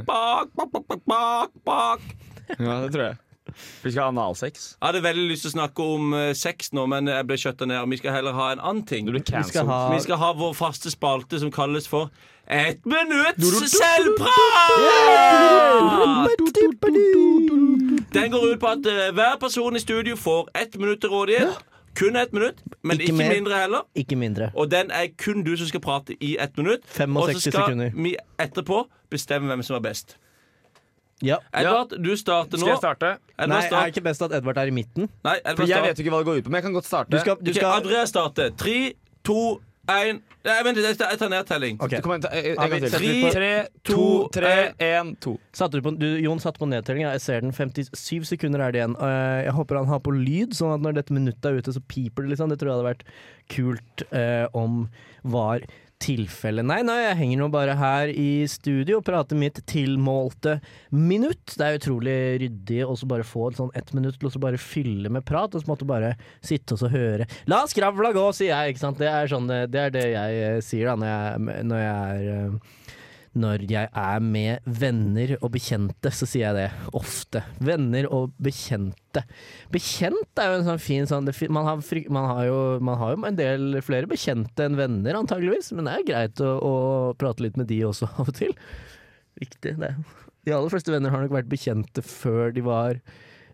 Speaker 1: Bak, bak, bak, bak, bak, bak.
Speaker 4: Ja, det tror jeg. Vi skal ha analsex.
Speaker 1: Jeg hadde veldig lyst til å snakke om eh, sex nå, men jeg ble skjøtta ned. og Vi skal heller ha en annen ting.
Speaker 4: Du blir
Speaker 2: skal
Speaker 4: cancelled.
Speaker 2: ha-
Speaker 1: Vi skal ha vår faste spalte som kalles for Et minutts selvprat! Den går ut på at eh, hver person i studio får ett minutt til rådighet. Kun ett minutt, men
Speaker 2: Ikke
Speaker 1: ikke
Speaker 2: mer.
Speaker 1: mindre heller.
Speaker 2: Ikke mindre.
Speaker 1: Og den er kun du som skal prate i ett minutt.
Speaker 2: 65
Speaker 1: og så skal
Speaker 2: sekunder.
Speaker 1: vi etterpå bestemme hvem som er best.
Speaker 2: Ja.
Speaker 1: Edvard, du starter nå.
Speaker 4: Skal jeg starte?
Speaker 2: Nei,
Speaker 1: Edvard,
Speaker 2: er det
Speaker 1: start.
Speaker 2: ikke best at Edvard er i midten?
Speaker 1: Nei, Edvard,
Speaker 4: For jeg vet
Speaker 1: start.
Speaker 4: jo ikke hva det går ut på, men jeg kan godt starte.
Speaker 2: Du skal, du
Speaker 1: Ok,
Speaker 2: skal
Speaker 1: Andrea starter. Tre, to, én Nei, vent, litt, jeg tar- jeg tar nedtelling.
Speaker 2: Ok.
Speaker 4: Kom igjen, ta- en- en
Speaker 2: Ja, vi
Speaker 4: gang til.
Speaker 2: setter
Speaker 4: Tre,
Speaker 2: vi eh, på-
Speaker 4: tre, to, tre, én, to.
Speaker 2: Satte du på, du, Jon satte på nedtellinga. Jeg ser den. 57 sekunder er det igjen. Eh, Jeg håper han har på lyd, sånn at når dette minuttet er ute, så piper det. Liksom. Det tror jeg hadde vært kult eh, om var tilfelle. Nei, nei, jeg henger nå bare her i studio og prater mitt tilmålte minutt. Det er utrolig ryddig å så bare få et sånn ett minutt til å så bare fylle med prat, og så måtte bare sitte og så høre. La skravla gå, sier jeg, ikke sant. Det er, sånn, det, det, er det jeg eh, sier da når jeg, når jeg er eh, når jeg er med venner og bekjente, så sier jeg det ofte. Venner og bekjente. Bekjent er jo en sånn fin sånn det, fin- man, har, fryk- man, har jo, man har jo en del flere bekjente enn venner, antageligvis, men det er jo greit å, å prate litt med de også av og til. Viktig, det. De aller fleste venner har nok vært bekjente før de var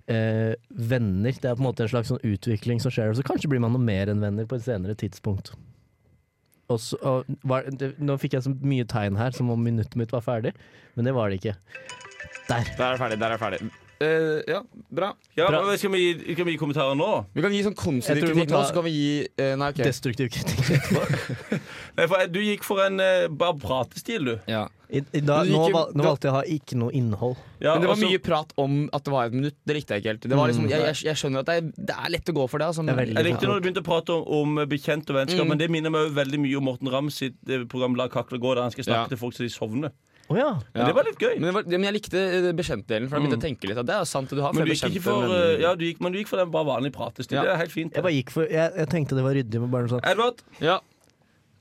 Speaker 2: eh, venner. Det er på en måte en slags sånn utvikling som skjer, og så kanskje blir man noe mer enn venner på et senere tidspunkt. Og så, og, var, det, nå fikk jeg så mye tegn her, som om minuttet mitt var ferdig, men det var det ikke. Der.
Speaker 4: Der er jeg ferdig. Der er jeg ferdig. Eh, ja, bra.
Speaker 1: Ja,
Speaker 2: Bra.
Speaker 1: men skal vi gi, kan vi gi kommentarer nå?
Speaker 4: Vi kan gi sånn
Speaker 2: Jeg tror
Speaker 4: konstruktiv
Speaker 2: vi må
Speaker 4: kritikk nå,
Speaker 2: ta-
Speaker 4: så kan vi gi eh, Nei, OK.
Speaker 2: Destruktiv kritikk.
Speaker 1: Nei, for, eh, Du gikk for en eh, bare pratestil, du.
Speaker 4: Ja.
Speaker 2: I, i, da,
Speaker 4: Men du
Speaker 2: nå,
Speaker 4: gikk-
Speaker 2: val, nå
Speaker 4: da-
Speaker 2: valgte jeg å ha ikke noe innhold.
Speaker 1: Ja,
Speaker 4: Men det var
Speaker 1: også-
Speaker 4: mye prat om at det var et minutt. Det likte jeg ikke helt. Det var liksom, jeg, jeg, jeg skjønner at det er, det er lett å gå for det. Altså,
Speaker 2: Det er
Speaker 4: men-
Speaker 2: veldig
Speaker 1: Jeg likte når du begynte å prate om, om bekjent og vennskap,
Speaker 4: Mm.
Speaker 1: men det minner meg jo veldig mye om Morten Rams sitt eh, program La kakla gå, der han skal snakke
Speaker 4: Ja.
Speaker 1: til folk så de sovner.
Speaker 2: Å ja.
Speaker 1: Men det var litt gøy.
Speaker 4: Men, det var, men jeg likte eh, bekjentdelen, for jeg begynte å tenke litt. At det er jo sant det du har.
Speaker 1: Men
Speaker 4: flere
Speaker 1: du gikk ikke
Speaker 4: bekjente,
Speaker 1: for,
Speaker 4: men-
Speaker 1: eh, ja, du gikk, men du gikk for den bare vanlige pratestil.
Speaker 4: Ja.
Speaker 1: Det er helt fint.
Speaker 2: Jeg bare gikk for Jeg, jeg tenkte det var ryddig med bare noe sånn, sånt.
Speaker 1: Edvard,
Speaker 4: Ja.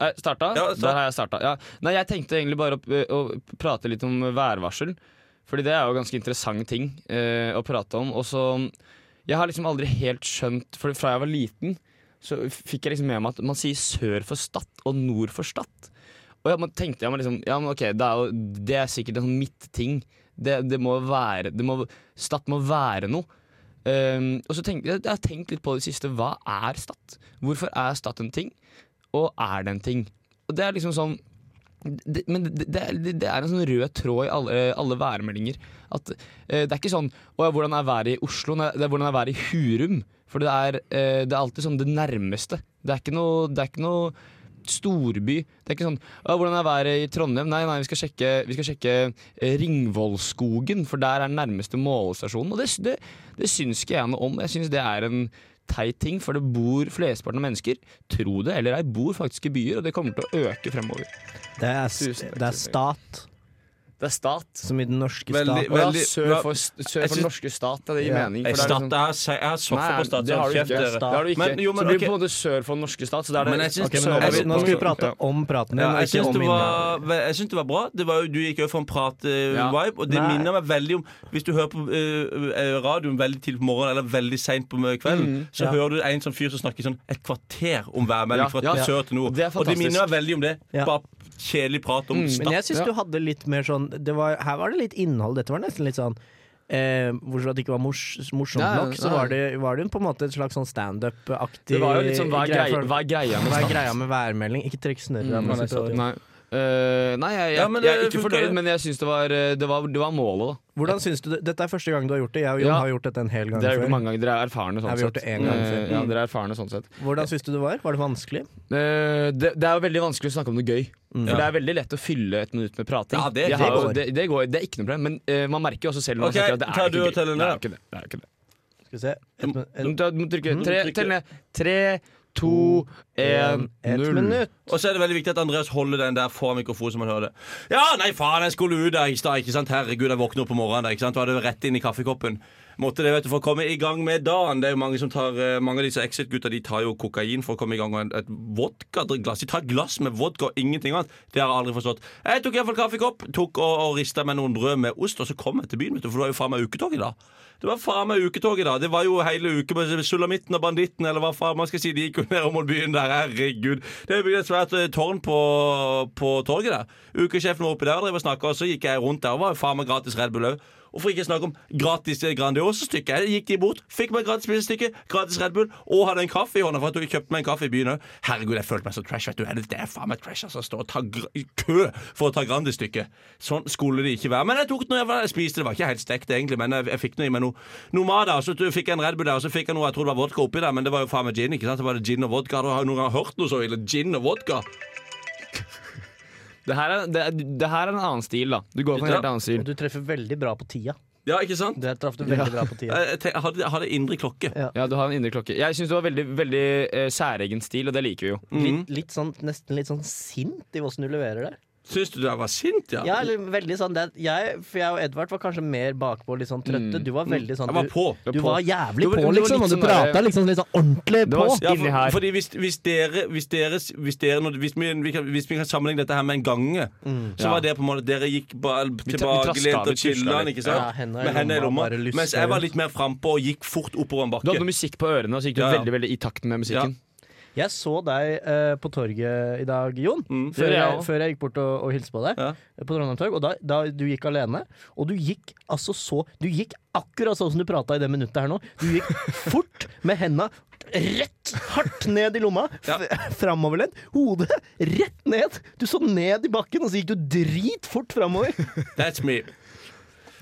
Speaker 4: Jeg starta?
Speaker 1: Ja, start.
Speaker 4: Der har jeg starta. Ja. Nei, jeg tenkte egentlig bare å, eh, å prate litt om værvarsel. Fordi det er jo ganske interessant ting eh, å prate om. Og så Jeg har liksom aldri helt skjønt For fra jeg var liten, så fikk jeg liksom med meg at man sier sør for Stad og nord for Stad. Og ja, man tenkte jeg meg liksom Ja, men ok, det er, jo, det er sikkert en sånn midtting. Det, det må være det må, Stad må være noe. Eh, og så tenkte jeg, jeg har tenkt litt på det siste. Hva er Stad? Hvorfor er Stad en ting? og er det en ting? Og det er liksom sånn det, men det, det, det- det er en sånn rød tråd i alle, alle værmeldinger. At, eh, det er ikke sånn Å ja, hvordan er været i Oslo? Nei, det er hvordan er været i Hurum? For det er, eh, det er alltid sånn det nærmeste. Det er ikke noe, det er ikke noe storby. Det er ikke sånn å, 'Hvordan er været i Trondheim?' Nei, nei, vi skal sjekke, vi skal sjekke eh, Ringvollskogen, for der er den nærmeste målestasjonen. Og det, sy- det, det syns ikke jeg noe om. Jeg syns det er en teit ting, for det bor flesteparten av mennesker, tro det eller ei, bor faktisk i byer, og det kommer til å øke fremover.
Speaker 2: Det er,
Speaker 4: Tusen
Speaker 2: s- det er
Speaker 4: takk, tusen
Speaker 2: stat,
Speaker 4: Det er stat.
Speaker 2: som i den norske
Speaker 1: Veldig-
Speaker 2: stat.
Speaker 4: Og ja,
Speaker 1: Veldig-
Speaker 4: sør for, sør
Speaker 1: Jeg
Speaker 4: for
Speaker 1: syns-
Speaker 4: den norske stat, det gir
Speaker 2: Ja.
Speaker 1: jeg,
Speaker 4: mening. For det er
Speaker 1: stat,
Speaker 4: liksom,
Speaker 1: jeg, jeg, jeg soffer på stat.
Speaker 4: det har du
Speaker 1: Kjeft
Speaker 4: ikke.
Speaker 1: dere.
Speaker 4: Det har du ikke.
Speaker 1: Men, jo, men,
Speaker 4: så det blir
Speaker 1: ok.
Speaker 4: på en måte sør for den norske stat. Så det er det,
Speaker 1: Men jeg syns-
Speaker 2: Ok, men nå,
Speaker 1: Jeg
Speaker 2: må vi,
Speaker 1: syns-
Speaker 2: nå skal vi prate om praten din,
Speaker 1: Ja,
Speaker 2: og
Speaker 1: jeg
Speaker 2: ikke
Speaker 1: syns
Speaker 2: om
Speaker 1: det,
Speaker 2: innholdet.
Speaker 1: var- ve- jeg syns det var bra. Det var, jo- du gikk jo for en prat-vibe,
Speaker 4: Ja.
Speaker 1: og det
Speaker 2: Nei.
Speaker 1: minner meg veldig om Hvis du hører på eh, eh, radioen veldig tidlig på morgenen eller veldig seint på kvelden, så
Speaker 2: Ja.
Speaker 1: hører du en sånn fyr som snakker sånn et kvarter om værmelding
Speaker 4: Ja,
Speaker 1: fra
Speaker 4: ja.
Speaker 1: sør til nord.
Speaker 4: Det er
Speaker 1: og det
Speaker 4: fantastisk.
Speaker 1: minner meg veldig om det.
Speaker 2: Ja.
Speaker 1: Bare kjedelig prat om
Speaker 4: Mm,
Speaker 1: stad.
Speaker 2: Men jeg syns
Speaker 4: Ja.
Speaker 2: du hadde litt mer sånn det var, Her var det litt innhold. Dette var nesten litt sånn eh, bortsett fra at det ikke var mors, morsomt
Speaker 4: Nei,
Speaker 2: nok, så
Speaker 4: nei.
Speaker 2: var det, var det på en måte et slags sånn standup-aktig
Speaker 4: Det var jo litt sånn, hva
Speaker 2: greie
Speaker 4: er greia,
Speaker 2: for-
Speaker 4: hva er greia med
Speaker 2: Hva er
Speaker 4: standup?
Speaker 2: greia med værmelding? Ikke trekk snørra.
Speaker 4: Mm,
Speaker 2: mens
Speaker 4: nei,
Speaker 2: du prater.
Speaker 4: Nei, Eh, nei jeg, jeg,
Speaker 1: Ja, men
Speaker 4: jeg er
Speaker 1: det
Speaker 4: ikke
Speaker 1: funker,
Speaker 4: fornøyd,
Speaker 1: det.
Speaker 4: men jeg syns det, var, eh, det, var, det var målet, da.
Speaker 2: Hvordan synes du det? Dette er første gang du har gjort det. Jeg og Jon
Speaker 4: Ja.
Speaker 2: har gjort dette en hel gang
Speaker 4: Dere har gjort
Speaker 2: før.
Speaker 4: det mange ganger, dere er erfarne sånn
Speaker 2: Ja, vi har gjort
Speaker 4: sett.
Speaker 2: det en gang
Speaker 4: Eh,
Speaker 2: før.
Speaker 4: ja, dere er erfarne sånn sett.
Speaker 2: Hvordan synes du det var? Var det vanskelig?
Speaker 4: Eh, det, det er jo veldig vanskelig å snakke om noe gøy.
Speaker 2: Mm.
Speaker 4: For det er veldig lett å fylle et minutt med prating.
Speaker 1: Ja, det-
Speaker 4: Jeg
Speaker 1: det
Speaker 4: har jo-
Speaker 2: går.
Speaker 4: Det, det går. Det er ikke noe problem, men eh, man merker jo også selv
Speaker 1: Ok,
Speaker 4: når man snakker at det
Speaker 1: tar
Speaker 4: er
Speaker 1: du
Speaker 4: ikke
Speaker 1: og
Speaker 4: gøy.
Speaker 1: teller
Speaker 4: Det er
Speaker 1: ned,
Speaker 4: jo ikke det. det, er jo ikke det.
Speaker 2: Skal vi se Et, min-
Speaker 4: Du
Speaker 2: et,
Speaker 4: må ta- du må trykke
Speaker 1: Mm,
Speaker 4: tre,
Speaker 1: trykke.
Speaker 4: tell ned. Tre, to, én,
Speaker 2: et
Speaker 4: null.
Speaker 2: minutt.
Speaker 1: Og så er det veldig viktig at Andreas holder den der foran mikrofonen, så man hører det. Ja, nei, faen, jeg skulle ut der i stad, ikke sant. Herregud, jeg våkner opp på morgenen der, ikke sant. Og hadde rett inn i kaffekoppen. Måtte det, vet du, for å komme i gang med dagen. Det er jo mange som tar eh, Mange av disse Exit-gutta, de tar jo kokain for å komme i gang med en- et vodkaglass. De tar et glass med vodka og ingenting annet. Det har jeg aldri forstått. Jeg tok iallfall kaffekopp, tok og, og rista meg noen brød med ost, og så kom jeg til byen, vet du, for det var jo faen meg uketog i dag. Det var faen meg uketog i dag. Det var jo hele uke med Sulamitten og Banditten, eller hva faen man skal si. De gikk jo ned mot byen der, herregud. Det er bygd et svært eh, tårn på, på torget der. Ukesjefen var oppe der og drev og snakka, og så gikk jeg rundt der og var jo faen meg gratis Red Bull òg. Og for ikke snakke om gratis Grandiosa-stykke. Jeg gikk de bort, fikk meg gratis pizzastykke, gratis Red Bull og hadde en kaffe i hånda for at jeg kjøpte meg en kaffe i byen òg. Herregud, jeg følte meg så trash. Vet du. Det er faen meg trash altså, å stå og ta gr i kø for å ta Grandis-stykket. Sånn skulle det ikke være. Men jeg tok det når jeg, var- jeg spiste. Det var ikke helt stekt, egentlig, men jeg, jeg fikk noe i meg noe Nomada. Og så t- fikk jeg en Red Bull der, og så fikk jeg noe jeg trodde var vodka oppi der, men det var jo faen meg gin. ikke sant? Det var det gin og vodka. Har du noen gang hørt noe så ille? Gin og vodka?
Speaker 4: Det her, er, det, er- det her er en annen stil, da. Du går for en
Speaker 1: Ja.
Speaker 4: helt annen
Speaker 2: Og
Speaker 4: stil.
Speaker 2: du treffer veldig bra på tida.
Speaker 1: Ja, ikke sant?
Speaker 2: Der traff du veldig bra på tida.
Speaker 1: Jeg, jeg, tenk- jeg, hadde, jeg hadde indre klokke.
Speaker 4: Ja, du har en indre klokke. Jeg syns det var veldig, veldig eh, særegen stil, og det liker vi jo.
Speaker 2: Litt, litt sånn, nesten litt sånn sint i hvordan du leverer det.
Speaker 1: Syns du jeg var sint, ja?
Speaker 2: Ja, eller veldig sånn det, jeg, For jeg og Edvard var kanskje mer bakpå, litt sånn trøtte.
Speaker 4: Mm.
Speaker 2: Du var veldig sånn
Speaker 1: Jeg var
Speaker 2: Du,
Speaker 1: på.
Speaker 2: du var jævlig
Speaker 4: Du var-
Speaker 2: på,
Speaker 4: du var
Speaker 2: liksom. Og
Speaker 4: litt
Speaker 2: du
Speaker 4: sånn
Speaker 2: prata
Speaker 4: der-
Speaker 2: liksom litt sånn ordentlig
Speaker 4: Det
Speaker 2: på.
Speaker 4: var
Speaker 1: Ja,
Speaker 4: inni her.
Speaker 1: for, fordi hvis, hvis dere, hvis, dere, hvis, dere når- hvis, vi, vi kan, hvis vi kan sammenligne dette her med en gange, så
Speaker 2: Mm.
Speaker 4: Ja.
Speaker 1: var det på en måte dere gikk ba-
Speaker 4: traska,
Speaker 1: tilbakelent
Speaker 4: vi
Speaker 1: og
Speaker 4: tusla
Speaker 1: chilla,
Speaker 4: litt.
Speaker 1: ikke sant?
Speaker 2: Ja, hendene i
Speaker 1: med hendene i
Speaker 2: lomma,
Speaker 1: lomma.
Speaker 2: bare lyst
Speaker 1: Mens jeg var
Speaker 2: rundt.
Speaker 1: litt mer frampå og gikk fort oppover en
Speaker 4: Du hadde
Speaker 1: bakke.
Speaker 4: noe musikk på ørene, og så gikk du
Speaker 1: Ja, ja.
Speaker 4: veldig veldig i takt med musikken.
Speaker 2: Jeg så deg eh, på torget i dag, Jon.
Speaker 1: Mm.
Speaker 4: Det
Speaker 2: Før
Speaker 4: gjorde jeg
Speaker 2: jeg,
Speaker 4: også.
Speaker 2: før jeg gikk bort og, og hilste på deg.
Speaker 1: Ja.
Speaker 2: På Trondheim Torg. Og da, da du gikk alene. Og du gikk altså så Du gikk akkurat sånn som du prata i det minuttet her nå. Du gikk fort med henda rett hardt ned i lomma.
Speaker 1: Ja.
Speaker 2: Ja. Framoverlent. Hodet rett ned. Du så ned i bakken, og så gikk du dritfort framover.
Speaker 1: That's me.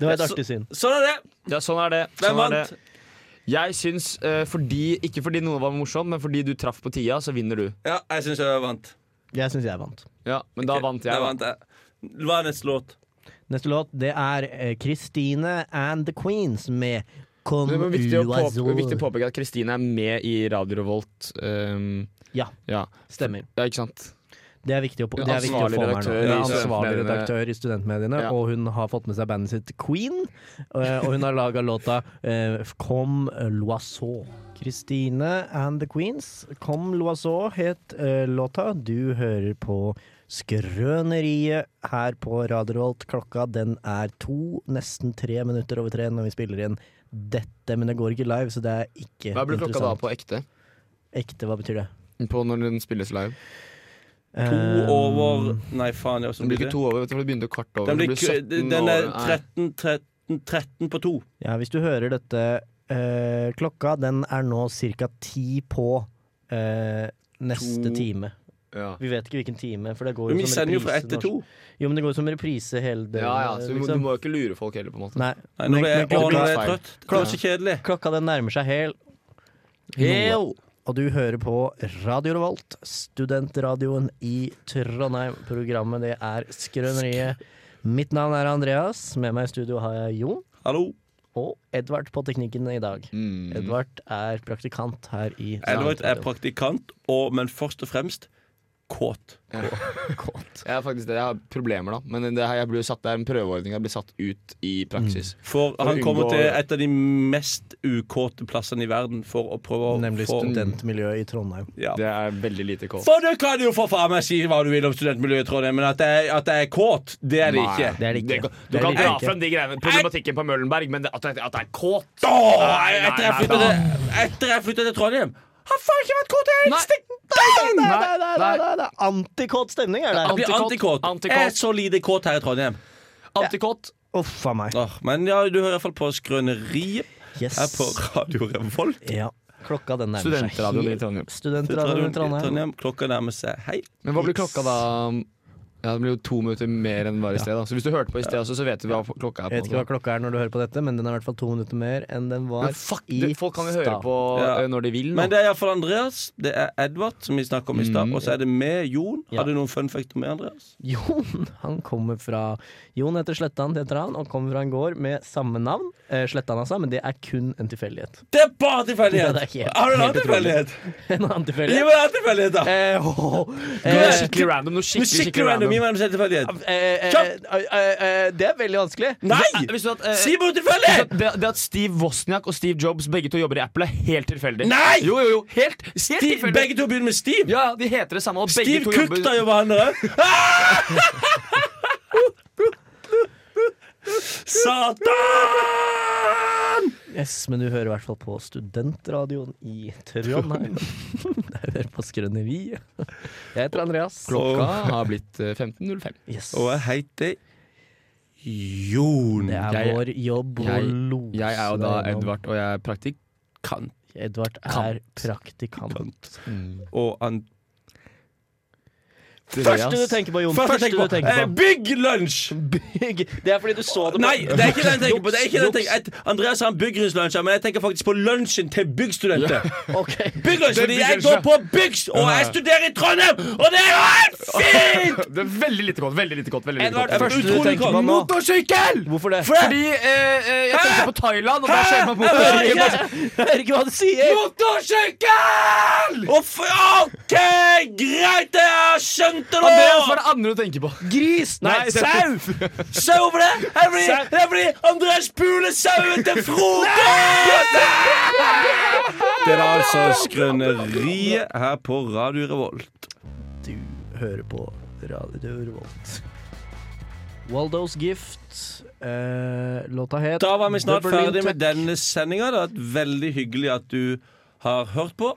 Speaker 2: Det var et
Speaker 1: Ja, så-
Speaker 2: artig syn.
Speaker 1: Sånn er det.
Speaker 4: Ja, sånn er det.
Speaker 1: Hvem
Speaker 4: Sånn er
Speaker 1: vant?
Speaker 4: det. Jeg syns, eh, fordi, ikke fordi noe var morsomt, men fordi du traff på tida, så vinner du.
Speaker 1: Ja, jeg syns jeg vant.
Speaker 2: Jeg syns jeg vant.
Speaker 4: Ja, Men da vant jeg.
Speaker 1: Da
Speaker 4: da.
Speaker 1: vant jeg. Hva er neste låt?
Speaker 2: Neste låt det er eh, Christine and The Queens med Con
Speaker 4: Det var viktig å,
Speaker 2: Uazul.
Speaker 4: påpe, viktig å påpeke at Kristine er med i Radio Revolt. ehm,
Speaker 2: Ja.
Speaker 4: ja.
Speaker 2: Stemmer.
Speaker 4: Ja, ikke sant?
Speaker 2: Det er viktig å, det er viktig å
Speaker 4: Ansvarlig
Speaker 2: få med her nå.
Speaker 4: redaktør i
Speaker 2: Ja, Ansvarlig
Speaker 4: studentmediene.
Speaker 2: redaktør i studentmediene,
Speaker 4: Ja.
Speaker 2: og hun har fått med seg bandet sitt Queen. eh, Og hun har laga låta eh, Comme l'oiseau. Christine and the Queens. Comme l'oiseau het eh, låta. Du hører på Skrøneriet her på Radio Revolt. Klokka den er to, nesten tre minutter over tre når vi spiller inn dette, men det går ikke live, så det er ikke
Speaker 4: Hva blir klokka da
Speaker 2: interessant.
Speaker 4: på ekte?
Speaker 2: Ekte, hva betyr det?
Speaker 4: På når den spilles live?
Speaker 1: To
Speaker 2: Eh,
Speaker 1: over Nei, faen. Ja, så
Speaker 4: Den blir
Speaker 1: blir
Speaker 4: ikke
Speaker 1: det.
Speaker 4: to over, vet du, for det begynte kvart over.
Speaker 1: Den, blir,
Speaker 4: det
Speaker 1: ku-
Speaker 4: 17
Speaker 1: den er
Speaker 4: over. Nei.
Speaker 1: 13, 13, 13 på to.
Speaker 2: Ja, hvis du hører dette eh, Klokka den er nå cirka ti på eh, neste
Speaker 4: To.
Speaker 2: time.
Speaker 4: Ja.
Speaker 2: Vi vet ikke hvilken time, for det går jo
Speaker 1: Vi
Speaker 2: som
Speaker 1: sender jo fra
Speaker 2: reprise
Speaker 1: ett til
Speaker 2: når-
Speaker 1: to.
Speaker 2: Jo, men det går jo som reprise hele døgnet.
Speaker 4: ja, ja, så du, må- du
Speaker 2: liksom.
Speaker 4: må jo ikke lure folk heller, på en måte.
Speaker 2: Nei,
Speaker 1: Nei,
Speaker 2: men-
Speaker 1: nå ble jeg, å,
Speaker 2: men
Speaker 1: nå
Speaker 2: klokka,
Speaker 1: ble jeg trøtt. Det var så kjedelig.
Speaker 2: klokka den nærmer seg hel.
Speaker 4: Hell!
Speaker 2: Og du hører på Radio Revolt, studentradioen i Trondheim. Programmet det er Skrøneriet. Mitt navn er Andreas. Med meg i studio har jeg Jon
Speaker 1: Hallo.
Speaker 2: og Edvard på teknikken i dag.
Speaker 4: Mm.
Speaker 2: Edvard er praktikant her i
Speaker 1: Edward er
Speaker 2: Studentradioen.
Speaker 1: praktikant, og, men først og fremst kåt.
Speaker 4: Jeg, er faktisk, det. jeg har problemer, da. Men det her, jeg blir jo satt, det er en prøveordning. Jeg blir satt ut i praksis.
Speaker 1: For
Speaker 4: å
Speaker 1: han kommer
Speaker 4: unngå-
Speaker 1: til et av de mest ukåte plassene i verden for å prøve å
Speaker 2: Nemlig
Speaker 1: få
Speaker 2: studentmiljøet i Trondheim.
Speaker 1: ja.
Speaker 4: Det er veldig lite kål.
Speaker 1: For du kan jo for faen meg si hva du vil om studentmiljøet, Trondheim, men at jeg, at jeg er kåt, det er det
Speaker 4: Nei.
Speaker 1: ikke.
Speaker 2: Det er det ikke. Det
Speaker 4: Du
Speaker 2: er
Speaker 4: kan
Speaker 2: det
Speaker 4: dra
Speaker 2: ikke.
Speaker 4: frem de greiene problematikken på Møllenberg, men det- at det at det er kåt
Speaker 1: Å,
Speaker 4: Nei, nei,
Speaker 1: etter jeg
Speaker 4: nei,
Speaker 1: flyttet til, etter jeg flyttet til Trondheim, har faen ikke vært kåt en eneste gang!
Speaker 2: Nei, nei, nei, nei, nei, nei. Antikåt stemning er det.
Speaker 1: Jeg blir
Speaker 4: Antikåt.
Speaker 1: antikåt.
Speaker 4: Antikåt.
Speaker 1: Jeg er så lite kåt her i Trondheim.
Speaker 4: Antikåt.
Speaker 2: Uff a meg.
Speaker 1: Ah, men ja, du hører iallfall på Skrøneriet
Speaker 2: Yes.
Speaker 1: her på Radio Revolt.
Speaker 2: Ja. Klokka den nærmer seg
Speaker 4: Studentradioen i
Speaker 2: helt-
Speaker 4: Trondheim.
Speaker 2: Studentradioen i
Speaker 1: Trondheim.
Speaker 2: Trondheim.
Speaker 1: Klokka nærmer seg. Hei.
Speaker 4: Men hva blir klokka da? Ja, Det blir jo to minutter mer enn det var i sted. da Så hvis du hørte på i sted, også, så vet du hva klokka
Speaker 2: Jeg
Speaker 4: er.
Speaker 2: vet ikke
Speaker 4: på
Speaker 2: hva klokka er når du hører på dette, men den er i hvert fall to minutter mer enn den var
Speaker 4: Men fuck,
Speaker 2: i
Speaker 4: det, Folk kan jo høre
Speaker 2: stad.
Speaker 4: på
Speaker 1: Ja.
Speaker 4: eh, når de vil.
Speaker 1: Men
Speaker 4: Nå.
Speaker 1: det er iallfall Andreas, det er Edvard, som vi snakka om i stad,
Speaker 4: Mm.
Speaker 1: og så er det med Jon.
Speaker 2: Ja.
Speaker 1: Har du noen fun fact med Andreas?
Speaker 2: Jon han kommer fra Jon heter Slettan, det heter han, og kommer fra en gård med samme navn. Eh, Slettan, altså, men det er kun en tilfeldighet.
Speaker 1: Det er bare
Speaker 2: Ja,
Speaker 1: tilfeldighet!
Speaker 2: det er helt-
Speaker 1: Har du en
Speaker 2: helt
Speaker 1: annen tilfeldighet?
Speaker 2: En annen
Speaker 1: Gi
Speaker 2: tilfeldighet.
Speaker 1: meg en annen tilfeldighet, da!
Speaker 2: Eh, hå, hå.
Speaker 4: Noe
Speaker 2: Eh,
Speaker 4: skikkelig random. Noe skikkelig,
Speaker 1: Musikklig
Speaker 4: skikkelig
Speaker 1: random. Gi
Speaker 4: random.
Speaker 1: meg en tilfeldighet.
Speaker 2: eh, eh, eh, eh, eh, det er veldig vanskelig.
Speaker 1: Nei!
Speaker 4: Visste du at, eh,
Speaker 1: Si meg en
Speaker 4: visste
Speaker 1: tilfeldighet!
Speaker 4: du at det, det at Steve Wozniak og Steve Jobs begge to jobber i Apple, er helt tilfeldig.
Speaker 1: Nei!
Speaker 4: Jo, jo, jo, helt, helt
Speaker 1: De,
Speaker 4: tilfeldig
Speaker 1: begge to begynner med Steve.
Speaker 4: Ja, de heter det samme, og begge
Speaker 1: Steve
Speaker 4: to
Speaker 1: Cook,
Speaker 4: jobber
Speaker 1: da, jobber han der òg. Satan!
Speaker 2: Yes, men du hører i hvert fall på studentradioen i Trondheim. Der hører på Skrøneriet. Jeg heter Andreas.
Speaker 4: Klokka har blitt eh, 15.05.
Speaker 2: Yes.
Speaker 1: Og jeg heter Jon.
Speaker 2: Det er
Speaker 4: Jeg-
Speaker 2: vår jobb å
Speaker 4: jeg-
Speaker 2: lose
Speaker 4: Jeg er jo da
Speaker 2: deg gjennom.
Speaker 4: Edvard, og jeg er praktikant.
Speaker 2: Edvard er praktikant.
Speaker 1: Og han
Speaker 2: Første du tenker på, Jon. Første du tenker
Speaker 1: eh,
Speaker 2: på.
Speaker 1: Bygg lunsj!
Speaker 2: Bygg. Det er fordi du så det på
Speaker 1: Nei, det er ikke det jeg tenker på. Det er ikke det jeg tenker. Et, Andreas har en byggrunslunsj, men jeg tenker faktisk på lunsjen til byggstudenter.
Speaker 2: Ok.
Speaker 1: Bygglunsj, fordi jeg går på byggs, og jeg studerer i Trondheim, og det er jo helt fint!
Speaker 4: Det er veldig lite godt. veldig lite godt, veldig lite
Speaker 2: Det
Speaker 1: Edvard,
Speaker 4: godt.
Speaker 2: første du
Speaker 1: utrolig
Speaker 2: tenker på
Speaker 1: godt.
Speaker 2: nå
Speaker 4: Motorsykkel!
Speaker 2: Hvorfor det?
Speaker 1: Fordi
Speaker 4: Fordi eh, eh, jeg tenkte på Thailand, og da skjer det meg motorsykkel.
Speaker 2: Hører ikke hva du sier!
Speaker 4: Motorsykkel!
Speaker 1: Å, f- OK, greit, jeg har skjønt det
Speaker 4: sånn, Andreas, hva
Speaker 1: nå!
Speaker 4: er det andre du tenker på?
Speaker 2: Gris! Nei,
Speaker 4: Nei, det-
Speaker 2: sau!
Speaker 1: Sau over det. Her blir- Her blir Andreas puler sauen til Frode! Det er altså Skrøneriet her på Radio Revolt.
Speaker 2: Du hører på Radio Revolt. Waldos Gift. Eh, låta het
Speaker 1: Da var vi snart
Speaker 2: The Berlin
Speaker 1: ferdig med
Speaker 2: Tech.
Speaker 1: denne sendinga. Det har vært veldig hyggelig at du har hørt på.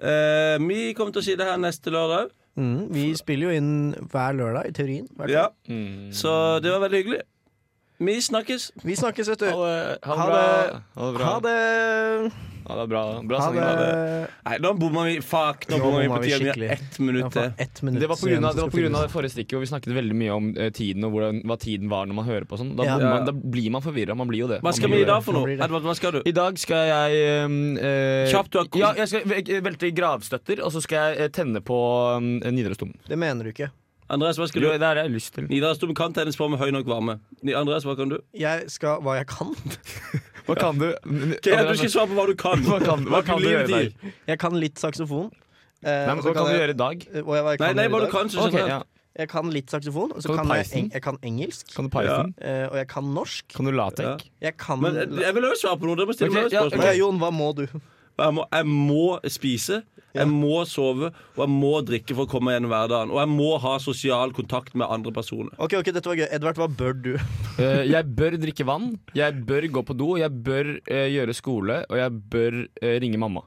Speaker 1: Eh, vi kommer til å si det her neste lørdag.
Speaker 2: Mm, vi spiller jo inn hver lørdag, i teorien. hvert fall.
Speaker 1: Ja.
Speaker 4: Mm.
Speaker 1: Så det var veldig hyggelig. Vi snakkes.
Speaker 2: Vi snakkes, vet du.
Speaker 4: eh, Ha
Speaker 2: bra.
Speaker 4: Ha det bra.
Speaker 2: Ha det!
Speaker 4: Ha det bra. Bra
Speaker 2: Ha
Speaker 4: sending. da.
Speaker 2: det.
Speaker 1: Nei, nå bomma vi. Fuck, nå
Speaker 2: Nå
Speaker 1: bomma vi
Speaker 2: bomma
Speaker 1: på
Speaker 2: vi
Speaker 1: tida. Vi
Speaker 2: skikkelig.
Speaker 1: har ett minutt
Speaker 2: Ja,
Speaker 1: til.
Speaker 2: faen, ett minutt
Speaker 4: Det var på
Speaker 2: igjen
Speaker 4: grunn av,
Speaker 2: som
Speaker 4: det
Speaker 2: skal
Speaker 4: var på grunn av
Speaker 2: finnes.
Speaker 4: det forrige stikket, hvor vi snakket veldig mye om eh, tiden og hvordan, hva tiden var når man hører på sånn. Da,
Speaker 2: Ja.
Speaker 4: blir man, da blir man forvirra. Man blir jo det.
Speaker 1: Hva skal
Speaker 4: man
Speaker 1: vi i
Speaker 4: blir jo
Speaker 1: dag for
Speaker 2: Nå
Speaker 1: noe?
Speaker 2: blir det.
Speaker 1: Edvard, hva skal du?
Speaker 4: det. I dag skal jeg eh, eh,
Speaker 1: Kjapt, du har
Speaker 4: Ja, jeg skal ve- velte gravstøtter, og så skal jeg eh, tenne på um, Nidarosdomen.
Speaker 2: Det mener du ikke.
Speaker 1: Andreas, hva
Speaker 4: Det
Speaker 1: skal du?
Speaker 4: har jeg lyst til.
Speaker 1: Nidarosdomen kan tennes på med høy nok varme. Ni- Andreas, hva kan du?
Speaker 2: Jeg skal hva jeg kan.
Speaker 4: Hva kan du?
Speaker 1: Ja, du skal svare på hva du kan.
Speaker 4: Hva kan- hva kan du
Speaker 1: livet
Speaker 4: gjøre i
Speaker 1: ditt?
Speaker 2: Jeg kan litt saksofon. Eh,
Speaker 4: Nei,
Speaker 2: og
Speaker 4: men,
Speaker 2: så
Speaker 4: hva kan du
Speaker 2: jeg-
Speaker 4: gjøre i dag?
Speaker 2: Eh, Og jeg, hva jeg
Speaker 1: Nei,
Speaker 2: kan
Speaker 1: nei,
Speaker 2: gjøre i
Speaker 1: hva du
Speaker 2: dag.
Speaker 1: kan. Så
Speaker 4: Ok,
Speaker 1: generelt.
Speaker 4: ja.
Speaker 2: Jeg kan litt saksofon, og så
Speaker 4: Kan du
Speaker 2: kan, jeg,
Speaker 4: Python?
Speaker 2: eng, jeg kan engelsk.
Speaker 4: Kan du Python?
Speaker 2: eh, og jeg kan norsk.
Speaker 4: Kan du Latek?
Speaker 2: Jeg kan
Speaker 1: Men eh, jeg vil også svare på noe. Dere må stille
Speaker 4: Ok,
Speaker 1: meg et
Speaker 4: ja,
Speaker 1: spørsmål.
Speaker 2: Å ja, Jon, hva må du?
Speaker 1: Jeg må, jeg må spise, jeg må sove, og jeg må drikke for å komme gjennom hverdagen. Og jeg må ha sosial kontakt med andre personer.
Speaker 2: Ok, ok, dette var gøy. Edvard, hva bør du?
Speaker 4: Eh, jeg bør drikke vann, jeg bør gå på do, jeg bør eh, gjøre skole, og jeg bør eh, ringe mamma.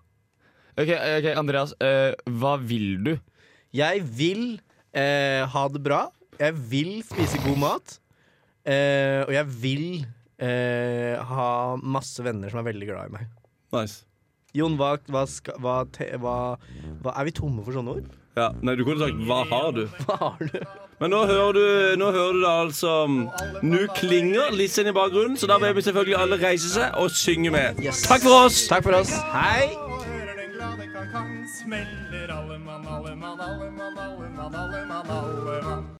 Speaker 4: Ok, ok, Andreas, eh, hva vil du?
Speaker 2: Jeg vil eh, ha det bra. Jeg vil spise god mat. Eh, og jeg vil eh, ha masse venner som er veldig glad i meg.
Speaker 1: Nice.
Speaker 2: Jon, hva, hva, skal, hva, te, hva, hva Er vi tomme for sånne ord?
Speaker 1: Ja, nei, du kunne sagt 'hva har du'?
Speaker 2: Hva har du?
Speaker 1: Men nå hører du, nå hører du da altså Nu klinger Lissen i bakgrunnen, så da vil vi selvfølgelig alle reise seg og synge med. Takk for oss!
Speaker 2: Takk for oss. Hei!
Speaker 8: hører den glade kankan, smeller alle mann, alle mann, alle mann, alle mann, alle mann, alle mann.